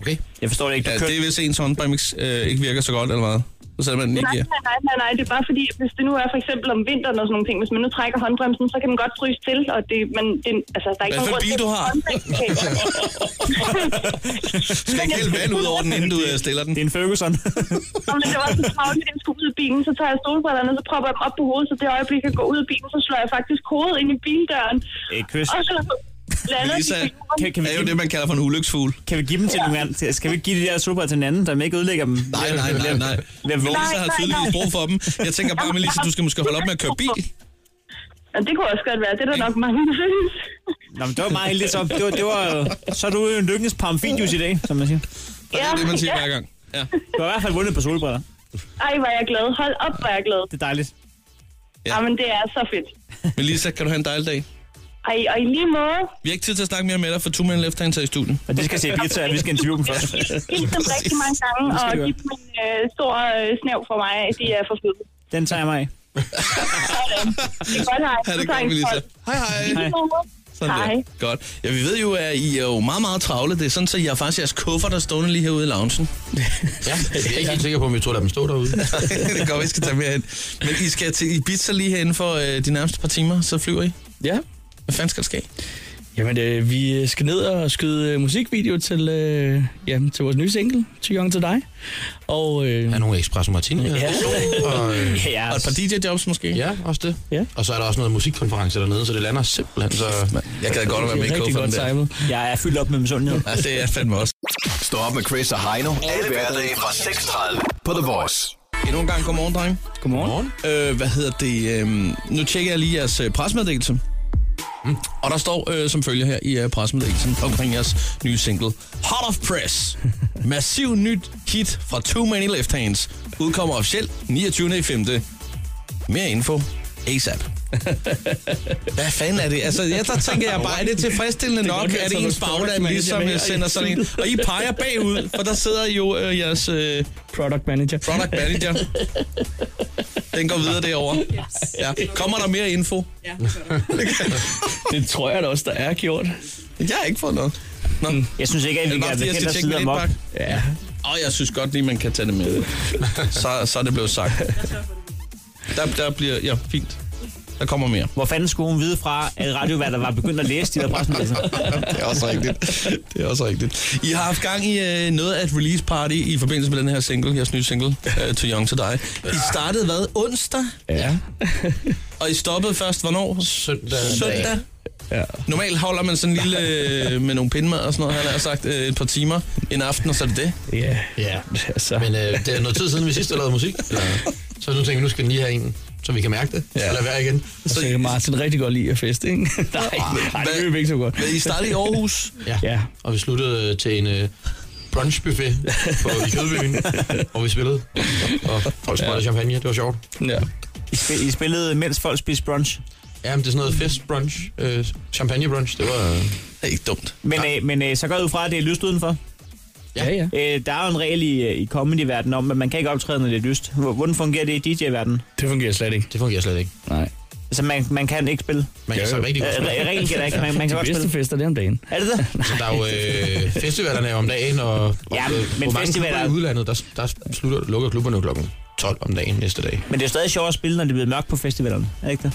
Speaker 14: Okay.
Speaker 4: Jeg forstår det ikke. Du
Speaker 3: Ja,
Speaker 4: kørte-
Speaker 3: det er hvis ens håndbremse øh, ikke virker så godt, eller hvad? Så sætter man den ikke
Speaker 10: Nej,
Speaker 3: i.
Speaker 10: nej, nej, nej, nej, det er bare fordi, hvis det nu er for eksempel om vinteren og sådan nogle ting, hvis man nu trækker håndbremsen, så kan den godt fryse til, og det, men det, altså, der er ikke
Speaker 3: Hvad for en
Speaker 10: grund
Speaker 3: bil
Speaker 10: til,
Speaker 3: du
Speaker 10: at
Speaker 3: har?
Speaker 10: håndbremsen kan-
Speaker 3: Du skal ikke hælde vand ud over den, inden du øh, stiller den.
Speaker 4: Det er en Ferguson.
Speaker 10: Nå, men det var så travlt, at jeg skulle ud af bilen, så tager jeg stolbrillerne, så propper jeg dem op på hovedet, så det øjeblik, jeg går ud af bilen, så slår jeg faktisk hovedet ind i bildøren.
Speaker 4: Hey, Chris.
Speaker 10: Og så lander de
Speaker 3: Melissa
Speaker 10: på jorden.
Speaker 4: Kan, kan, vi
Speaker 3: er jo
Speaker 4: give,
Speaker 3: det,
Speaker 4: dem-
Speaker 3: man kalder for en ulyksfugl.
Speaker 4: kan vi give dem til nogen anden? Skal vi ikke give de der solbriller til en anden, der ikke ødelægger dem?
Speaker 3: Nej, nej, nej, nej. Melissa har
Speaker 10: nej,
Speaker 3: tydeligvis
Speaker 10: nej.
Speaker 3: brug for dem. Jeg tænker bare, Melissa, du skal måske holde op med at køre bil.
Speaker 10: Men det kunne også godt være. Det er der nok mange, der synes.
Speaker 4: Nå, men det var meget heldigt. Så, det var, det var, så er du jo en lykkens pamfidius i dag, som man siger.
Speaker 3: Det er det, man siger hver gang. Ja.
Speaker 4: Du har i hvert fald vundet på solbriller.
Speaker 10: Ej, var jeg glad. Hold op, var jeg glad.
Speaker 4: Det er dejligt.
Speaker 3: Ja.
Speaker 10: Jamen, det er så fedt.
Speaker 3: Melissa, kan du have en dejlig dag?
Speaker 10: Ej, og i lige måde,
Speaker 3: Vi har ikke tid til at snakke mere med dig, for Two Men Left Hands er i studien.
Speaker 4: Og de skal se pizza, og vi skal interviewe dem først.
Speaker 10: giv dem rigtig mange gange,
Speaker 4: Det
Speaker 10: og
Speaker 4: skal vi
Speaker 10: giv dem en øh, stor øh, snæv for mig. De er for fede.
Speaker 4: Den tager jeg mig af.
Speaker 10: Det er
Speaker 3: Ha'
Speaker 10: godt, hej. Du
Speaker 3: det
Speaker 10: tager
Speaker 3: godt,
Speaker 10: en
Speaker 3: Melissa.
Speaker 10: kold.
Speaker 3: Hej, hej.
Speaker 4: Hej.
Speaker 3: Sådan
Speaker 10: Hej.
Speaker 3: der. Godt. Ja, vi ved jo, at I er jo meget, meget travle. Det er sådan, at I har faktisk jeres kuffer, der stående lige herude i loungen.
Speaker 14: Ja, jeg er ikke helt sikker på, om vi tror, at dem stå derude.
Speaker 3: det kan godt, vi skal tage mere ind. Men I skal til Ibiza lige herinde for øh, de nærmeste par timer, så flyver I.
Speaker 15: Ja,
Speaker 3: Hvad fanden skal der ske?
Speaker 15: jamen øh, vi skal ned og skyde øh, musikvideo til, øh, jamen, til vores nye single, Tyong til dig. Og øh,
Speaker 14: Der er nogle Espresso Martini. Ja. Og, øh,
Speaker 4: Ja,
Speaker 3: Og et par DJ-jobs måske?
Speaker 14: ja, også det.
Speaker 15: Ja.
Speaker 14: Og så er der også noget musikkonference dernede, så det lander simpelthen. Så
Speaker 3: Jeg gad godt at
Speaker 15: det
Speaker 3: være med i
Speaker 15: er rigtig
Speaker 3: kufferen
Speaker 15: godt
Speaker 3: der.
Speaker 15: timet.
Speaker 4: Jeg er fyldt op med misundhed.
Speaker 3: Ja, det er fandme også.
Speaker 5: Stå op med Chris og Heino. Alle hverdage fra 6.30 på The Voice.
Speaker 3: Endnu en gang, godmorgen, dreng.
Speaker 15: Godmorgen.
Speaker 3: øhm, Øh, hvad hedder det? Øh, nu tjekker jeg lige jeres øh, presmeddelelse.
Speaker 15: Mm.
Speaker 3: sammen. Og der står øh, som følger her i øh, pressemeddelelsen omkring jeres nye single, Hot of Press. Massiv nyt hit fra Too Many Left Hands. Udkommer officielt 29. i 5. Mere info ASAP. Hvad fanden er det? Altså, jeg, der tænker jeg bare, er det tilfredsstillende
Speaker 15: Det kan godt
Speaker 3: nok,
Speaker 15: være
Speaker 3: at
Speaker 15: sådan
Speaker 3: ens
Speaker 15: noget product
Speaker 3: bagland
Speaker 15: manager
Speaker 3: ligesom
Speaker 15: med
Speaker 3: øh, sender sådan en...
Speaker 15: i-
Speaker 3: Og I peger bagud, for der sidder jo øh, jeres... Øh,
Speaker 15: Product manager.
Speaker 3: Product manager. Den går videre derovre. Ja. Kommer der mere info? Ja.
Speaker 15: det tror jeg da også, der er gjort.
Speaker 3: Jeg har ikke fået noget. Nå.
Speaker 4: Jeg synes ikke, at vi
Speaker 3: Er det bare,
Speaker 4: kan
Speaker 3: fordi jeg
Speaker 4: bekendt
Speaker 3: skal
Speaker 4: os
Speaker 3: tjekke
Speaker 4: videre
Speaker 3: min
Speaker 4: om op.
Speaker 3: indbakke? Ja. Og jeg synes godt lige, man kan tage det med. Så, så er det blevet sagt. Der, der bliver... Ja, fint. Der kommer mere.
Speaker 4: Hvor fanden skulle hun vide fra, at radioværter var begyndt at læse de der pressemeddelelser?
Speaker 3: det er også rigtigt. Det er også rigtigt. I har haft gang i øh, noget af et release party i forbindelse med den her single, jeres nye single, øh, To Young To Die. I startede hvad? Onsdag? Ja. Og I stoppede først hvornår? Søndag. Søndag?
Speaker 15: Ja.
Speaker 3: Normalt holder man sådan en lille øh, med nogle pindmad og sådan noget, han har sagt, øh, et par timer en aften, og så er det det.
Speaker 15: Ja.
Speaker 14: Ja,
Speaker 15: altså.
Speaker 14: men øh, det er noget tid siden, vi sidst har lavet musik. Eller, så nu tænker vi, nu skal den lige have en, så vi kan mærke det. Ja. Lad være igen.
Speaker 15: Så kan Martin rigtig godt lide at feste, ikke? Nej, nej det løb ikke så godt.
Speaker 14: Men I startede i
Speaker 3: Aarhus?
Speaker 14: Ja. ja. Og vi sluttede øh, til en øh, brunchbuffet på, i Kødbyen, hvor vi spillede. Og folk sprøjtede ja. champagne. Det var sjovt.
Speaker 15: Ja.
Speaker 4: I, spil- I spillede, mens folk spiste brunch?
Speaker 14: Ja, men det er sådan noget festbrunch. Øh, champagnebrunch, det var... Øh...
Speaker 3: Ikke dumt.
Speaker 4: Men, øh, men øh, så går jeg ud fra, at det er lyst udenfor?
Speaker 14: Ja,
Speaker 15: ja.
Speaker 4: Øh, der er jo en regel i, øh, i comedy-verdenen om, at man kan ikke optræde, når det er lyst. Hvor- Hvordan fungerer det i DJ-verdenen?
Speaker 15: Det fungerer slet ikke.
Speaker 14: Det fungerer slet ikke.
Speaker 15: Nej.
Speaker 4: Så man, man kan ikke spille?
Speaker 14: Man kan så rigtig godt spille.
Speaker 4: Øh, re- reglen gælder ikke, man, man kan
Speaker 14: De
Speaker 4: godt
Speaker 14: bedste
Speaker 4: spille.
Speaker 15: fester, det er om dagen.
Speaker 4: Er det det?
Speaker 14: Så der er jo øh, festivalerne om dagen, og, og
Speaker 4: Ja,
Speaker 14: øh,
Speaker 4: men
Speaker 14: hvor mange
Speaker 4: festivaler-
Speaker 14: klubber i udlandet, der, der slutter, lukker klubberne jo klokken 12 om dagen næste dag.
Speaker 4: Men det er jo stadig sjovt at spille, når det bliver mørkt på festivalerne, er det ikke det?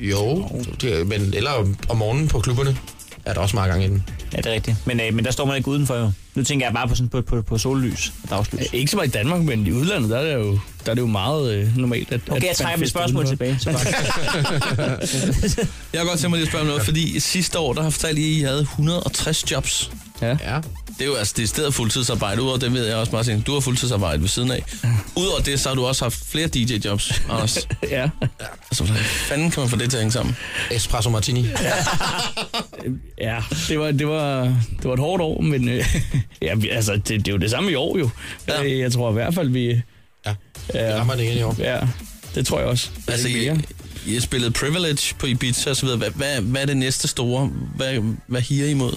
Speaker 14: Jo, det, men eller om- om morgenen på klubberne er der også meget gang i den.
Speaker 4: Ja, det er rigtigt. Men, øh, men der står man ikke udenfor jo. Nu tænker jeg bare på, sådan, på, på, på sollys og dagslys.
Speaker 15: Øh, Ikke så meget i Danmark, men i udlandet, der er det jo, der er det jo meget øh, normalt, at... at
Speaker 4: Okay, jeg trækker
Speaker 15: man
Speaker 4: mit
Speaker 15: fester
Speaker 4: spørgsmål
Speaker 15: udenfor.
Speaker 4: tilbage. Så godt.
Speaker 3: Jeg har godt tænkt mig lige at spørge om noget, fordi sidste år, der har fortalt I, at I havde 160 jobs.
Speaker 15: Ja. ja.
Speaker 3: Det er jo altså det er stedet fuldtidsarbejde, udover det ved jeg også, Martin. Du har fuldtidsarbejde ved siden af. Udover det, så har du også haft flere DJ-jobs, Anders.
Speaker 15: ja.
Speaker 3: Altså, hvordan fanden kan man få det til at hænge sammen?
Speaker 14: Espresso Martini.
Speaker 15: Ja, det var, det, var, det var et hårdt år, men øh, ja, vi- altså, det, det er jo det samme i år jo. Ja. Jeg tror i hvert fald, vi...
Speaker 14: Ja,
Speaker 15: vi rammer
Speaker 14: det igen i år.
Speaker 15: Ja, det tror jeg også. Er det
Speaker 3: Altså,
Speaker 15: ikke
Speaker 3: I,
Speaker 15: mere?
Speaker 3: I har spillet Privilege på Ibiza osv. Hvad, hvad, hvad er det næste store? Hvad, hvad higer I imod?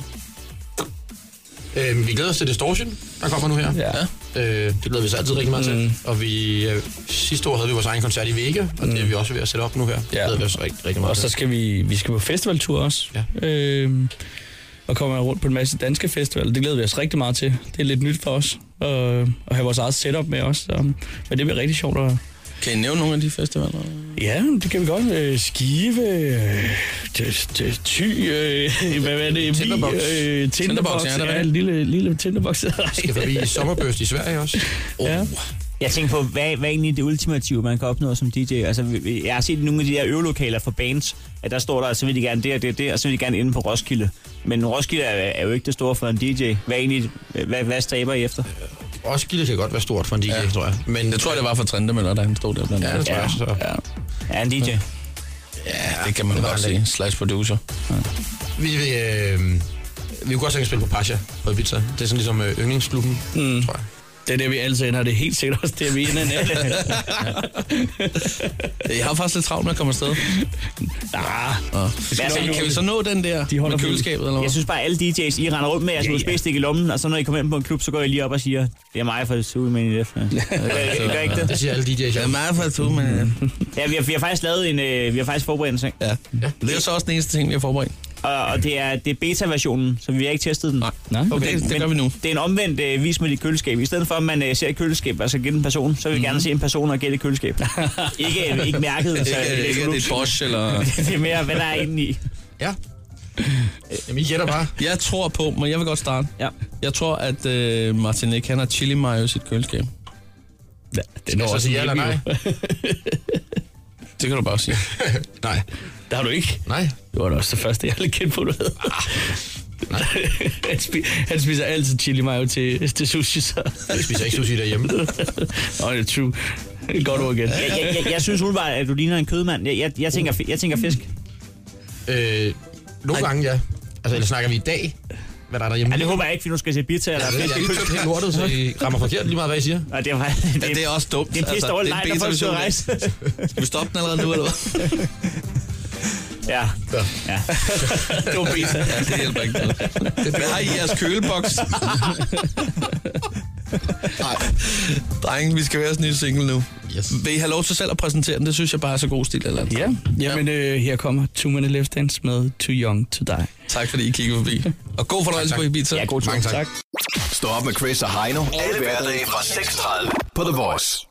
Speaker 14: Øh, vi glæder os til Distortion, der kommer nu her.
Speaker 15: Ja.
Speaker 14: Øh, det glæder vi os altid rigtig meget til. Mm. Og vi, øh, sidste år havde vi vores egen koncert i Vega, og det er vi også ved at sætte op nu her. Det glæder vi os rigtig, rigtig meget
Speaker 15: Mm. Og så
Speaker 14: til.
Speaker 15: skal vi, vi skal på festivaltur også. Ja. Øhm, og kommer rundt på en masse danske festivaler. Det glæder vi os rigtig meget til. Det er lidt nyt for os. Og, og have vores eget setup med os. Så, men det bliver rigtig sjovt at...
Speaker 3: Kan I nævne nogle af de festivaler?
Speaker 15: Ja, det kan vi godt. Øh, Skive, øh, det- det- Thy, øh, hvad hvad er det? Vi,
Speaker 14: Tinderbox.
Speaker 15: Øh, Tinderbox,
Speaker 14: Tinderbox, ja,
Speaker 15: ja,
Speaker 14: der
Speaker 15: der
Speaker 14: er.
Speaker 15: er en lille, lille Tinderbox.
Speaker 14: skal forbi Sommerbøst i Sverige også. Oh.
Speaker 15: Ja.
Speaker 4: Jeg tænker på, hvad, hvad er egentlig det ultimative, man kan opnå som DJ? Altså, vi- vi- jeg har set nogle af de der øvelokaler for bands, at der står der, så vil de gerne det og det og det, og så vil de gerne inde på Roskilde. Men Roskilde er, er jo ikke det store for en DJ. Hvad, er egentlig, hvad, hvad stræber I efter?
Speaker 14: Roskilde kan godt være stort for en DJ, ja. tror jeg. Men
Speaker 3: Jeg tror, det var for Trendemøller, da han stod der blandt
Speaker 14: Ja, det tror jeg også.
Speaker 3: Ja.
Speaker 4: Er en DJ?
Speaker 3: ja, det kan man
Speaker 14: Det var
Speaker 3: godt
Speaker 14: han
Speaker 3: sige.
Speaker 14: ikke.
Speaker 3: Slash producer.
Speaker 14: Vi vil, øh, vi kunne godt tænke at spille på Pasha på Ibiza. Det er sådan ligesom øh, yndlingsklubben, mm. tror jeg.
Speaker 15: Det er det, vi altid ender. Det er helt sikkert også det, vi ender med.
Speaker 3: Jeg har faktisk lidt travlt med at komme afsted.
Speaker 15: Ah.
Speaker 3: Skal vi- altså, kan vi så nå den der de med køleskabet? Eller
Speaker 4: Jeg
Speaker 3: hvad?
Speaker 4: synes bare, at alle DJ's, I render rundt med jeres
Speaker 3: Ja, ja.
Speaker 4: USB-stik i lommen, og så når I kommer ind på en klub, så går I lige op og siger, det er mig for det men i det. Gør I ikke det?
Speaker 14: altså, Det siger alle DJ's. Det
Speaker 3: er meget for at tro, men... øh,
Speaker 4: Ja, vi har, vi har faktisk lavet en, øh, vi har faktisk forberedt en ting.
Speaker 3: Ja. Det er jo så også den eneste ting, vi har forberedt.
Speaker 4: Og, og det er, det er beta-versionen, så vi har ikke testet den. Nej,
Speaker 15: Nej.
Speaker 3: Okay, det- det gør vi nu.
Speaker 4: Det er en omvendt øh, vis med dit køleskab. I stedet for, at man øh, ser et køleskab og så gætte en person, så vil
Speaker 3: Mhm.
Speaker 4: vi mm. gerne se en person og gætte et køleskab. ikke, ikke mærket.
Speaker 3: Ikke-
Speaker 4: så,
Speaker 3: ikke, at det er et Bosch, eller...
Speaker 4: det er mere, hvad der er inde i.
Speaker 14: Ja. Jamen, I gætter bare.
Speaker 3: Jeg tror på, men jeg vil godt starte.
Speaker 4: Ja.
Speaker 3: Jeg tror, at øh, Martin Nick, han har chili mayo i sit køleskab. Altså,
Speaker 15: Ja,
Speaker 14: Skal jeg så sige ja eller nej?
Speaker 3: Det kan du bare sige.
Speaker 14: nej.
Speaker 15: Der har du ikke.
Speaker 14: Nej.
Speaker 15: Det var da også det første, jeg havde kendt på, du havde.
Speaker 4: Ah,
Speaker 15: han, spi- han spiser altid chili mayo til, til sushi, så...
Speaker 14: Jeg spiser ikke sushi derhjemme.
Speaker 15: Nå, det er true. Godt ord igen.
Speaker 4: Jeg, jeg, jeg, jeg synes umiddelbart, at du ligner en kødmand. Jeg, jeg, jeg, tænker, fi- jeg tænker fisk.
Speaker 14: Øh, nogle gange, ja. Altså, eller snakker vi i dag? Hvad der er derhjemme?
Speaker 4: Ja, det håber jeg ikke, for nu skal jeg se Birta.
Speaker 14: Ja,
Speaker 4: Eller
Speaker 14: jeg er lige købt helt lortet, så I rammer forkert lige meget, hvad I siger.
Speaker 4: Ja, det, var,
Speaker 3: Ja, det er også dumt. Altså,
Speaker 4: Det er pisse dårligt
Speaker 3: det
Speaker 4: nej,
Speaker 3: er en
Speaker 4: når folk skal ud og
Speaker 3: beta-version.
Speaker 4: rejse.
Speaker 3: Skal vi stoppe den allerede nu, eller hvad?
Speaker 4: Ja. ja.
Speaker 3: det var beta. Ja, det hjælper ikke noget. Hvad har I i jeres køleboks? Nej. Drenge, vi skal være sådan en single nu. Yes. Vil I have lov til selv at præsentere den? Det synes jeg bare er så god stil. Eller
Speaker 15: Ja, jamen øh, her kommer Two Minute Left Dance med Too Young To Die.
Speaker 3: Tak fordi I kiggede forbi. Og god fornøjelse på Ibiza.
Speaker 15: Ja, god tur.
Speaker 5: Mange tak.
Speaker 15: tak.
Speaker 5: Stå op med Chris og Heino. Alle hverdage fra 6.30 på The Voice.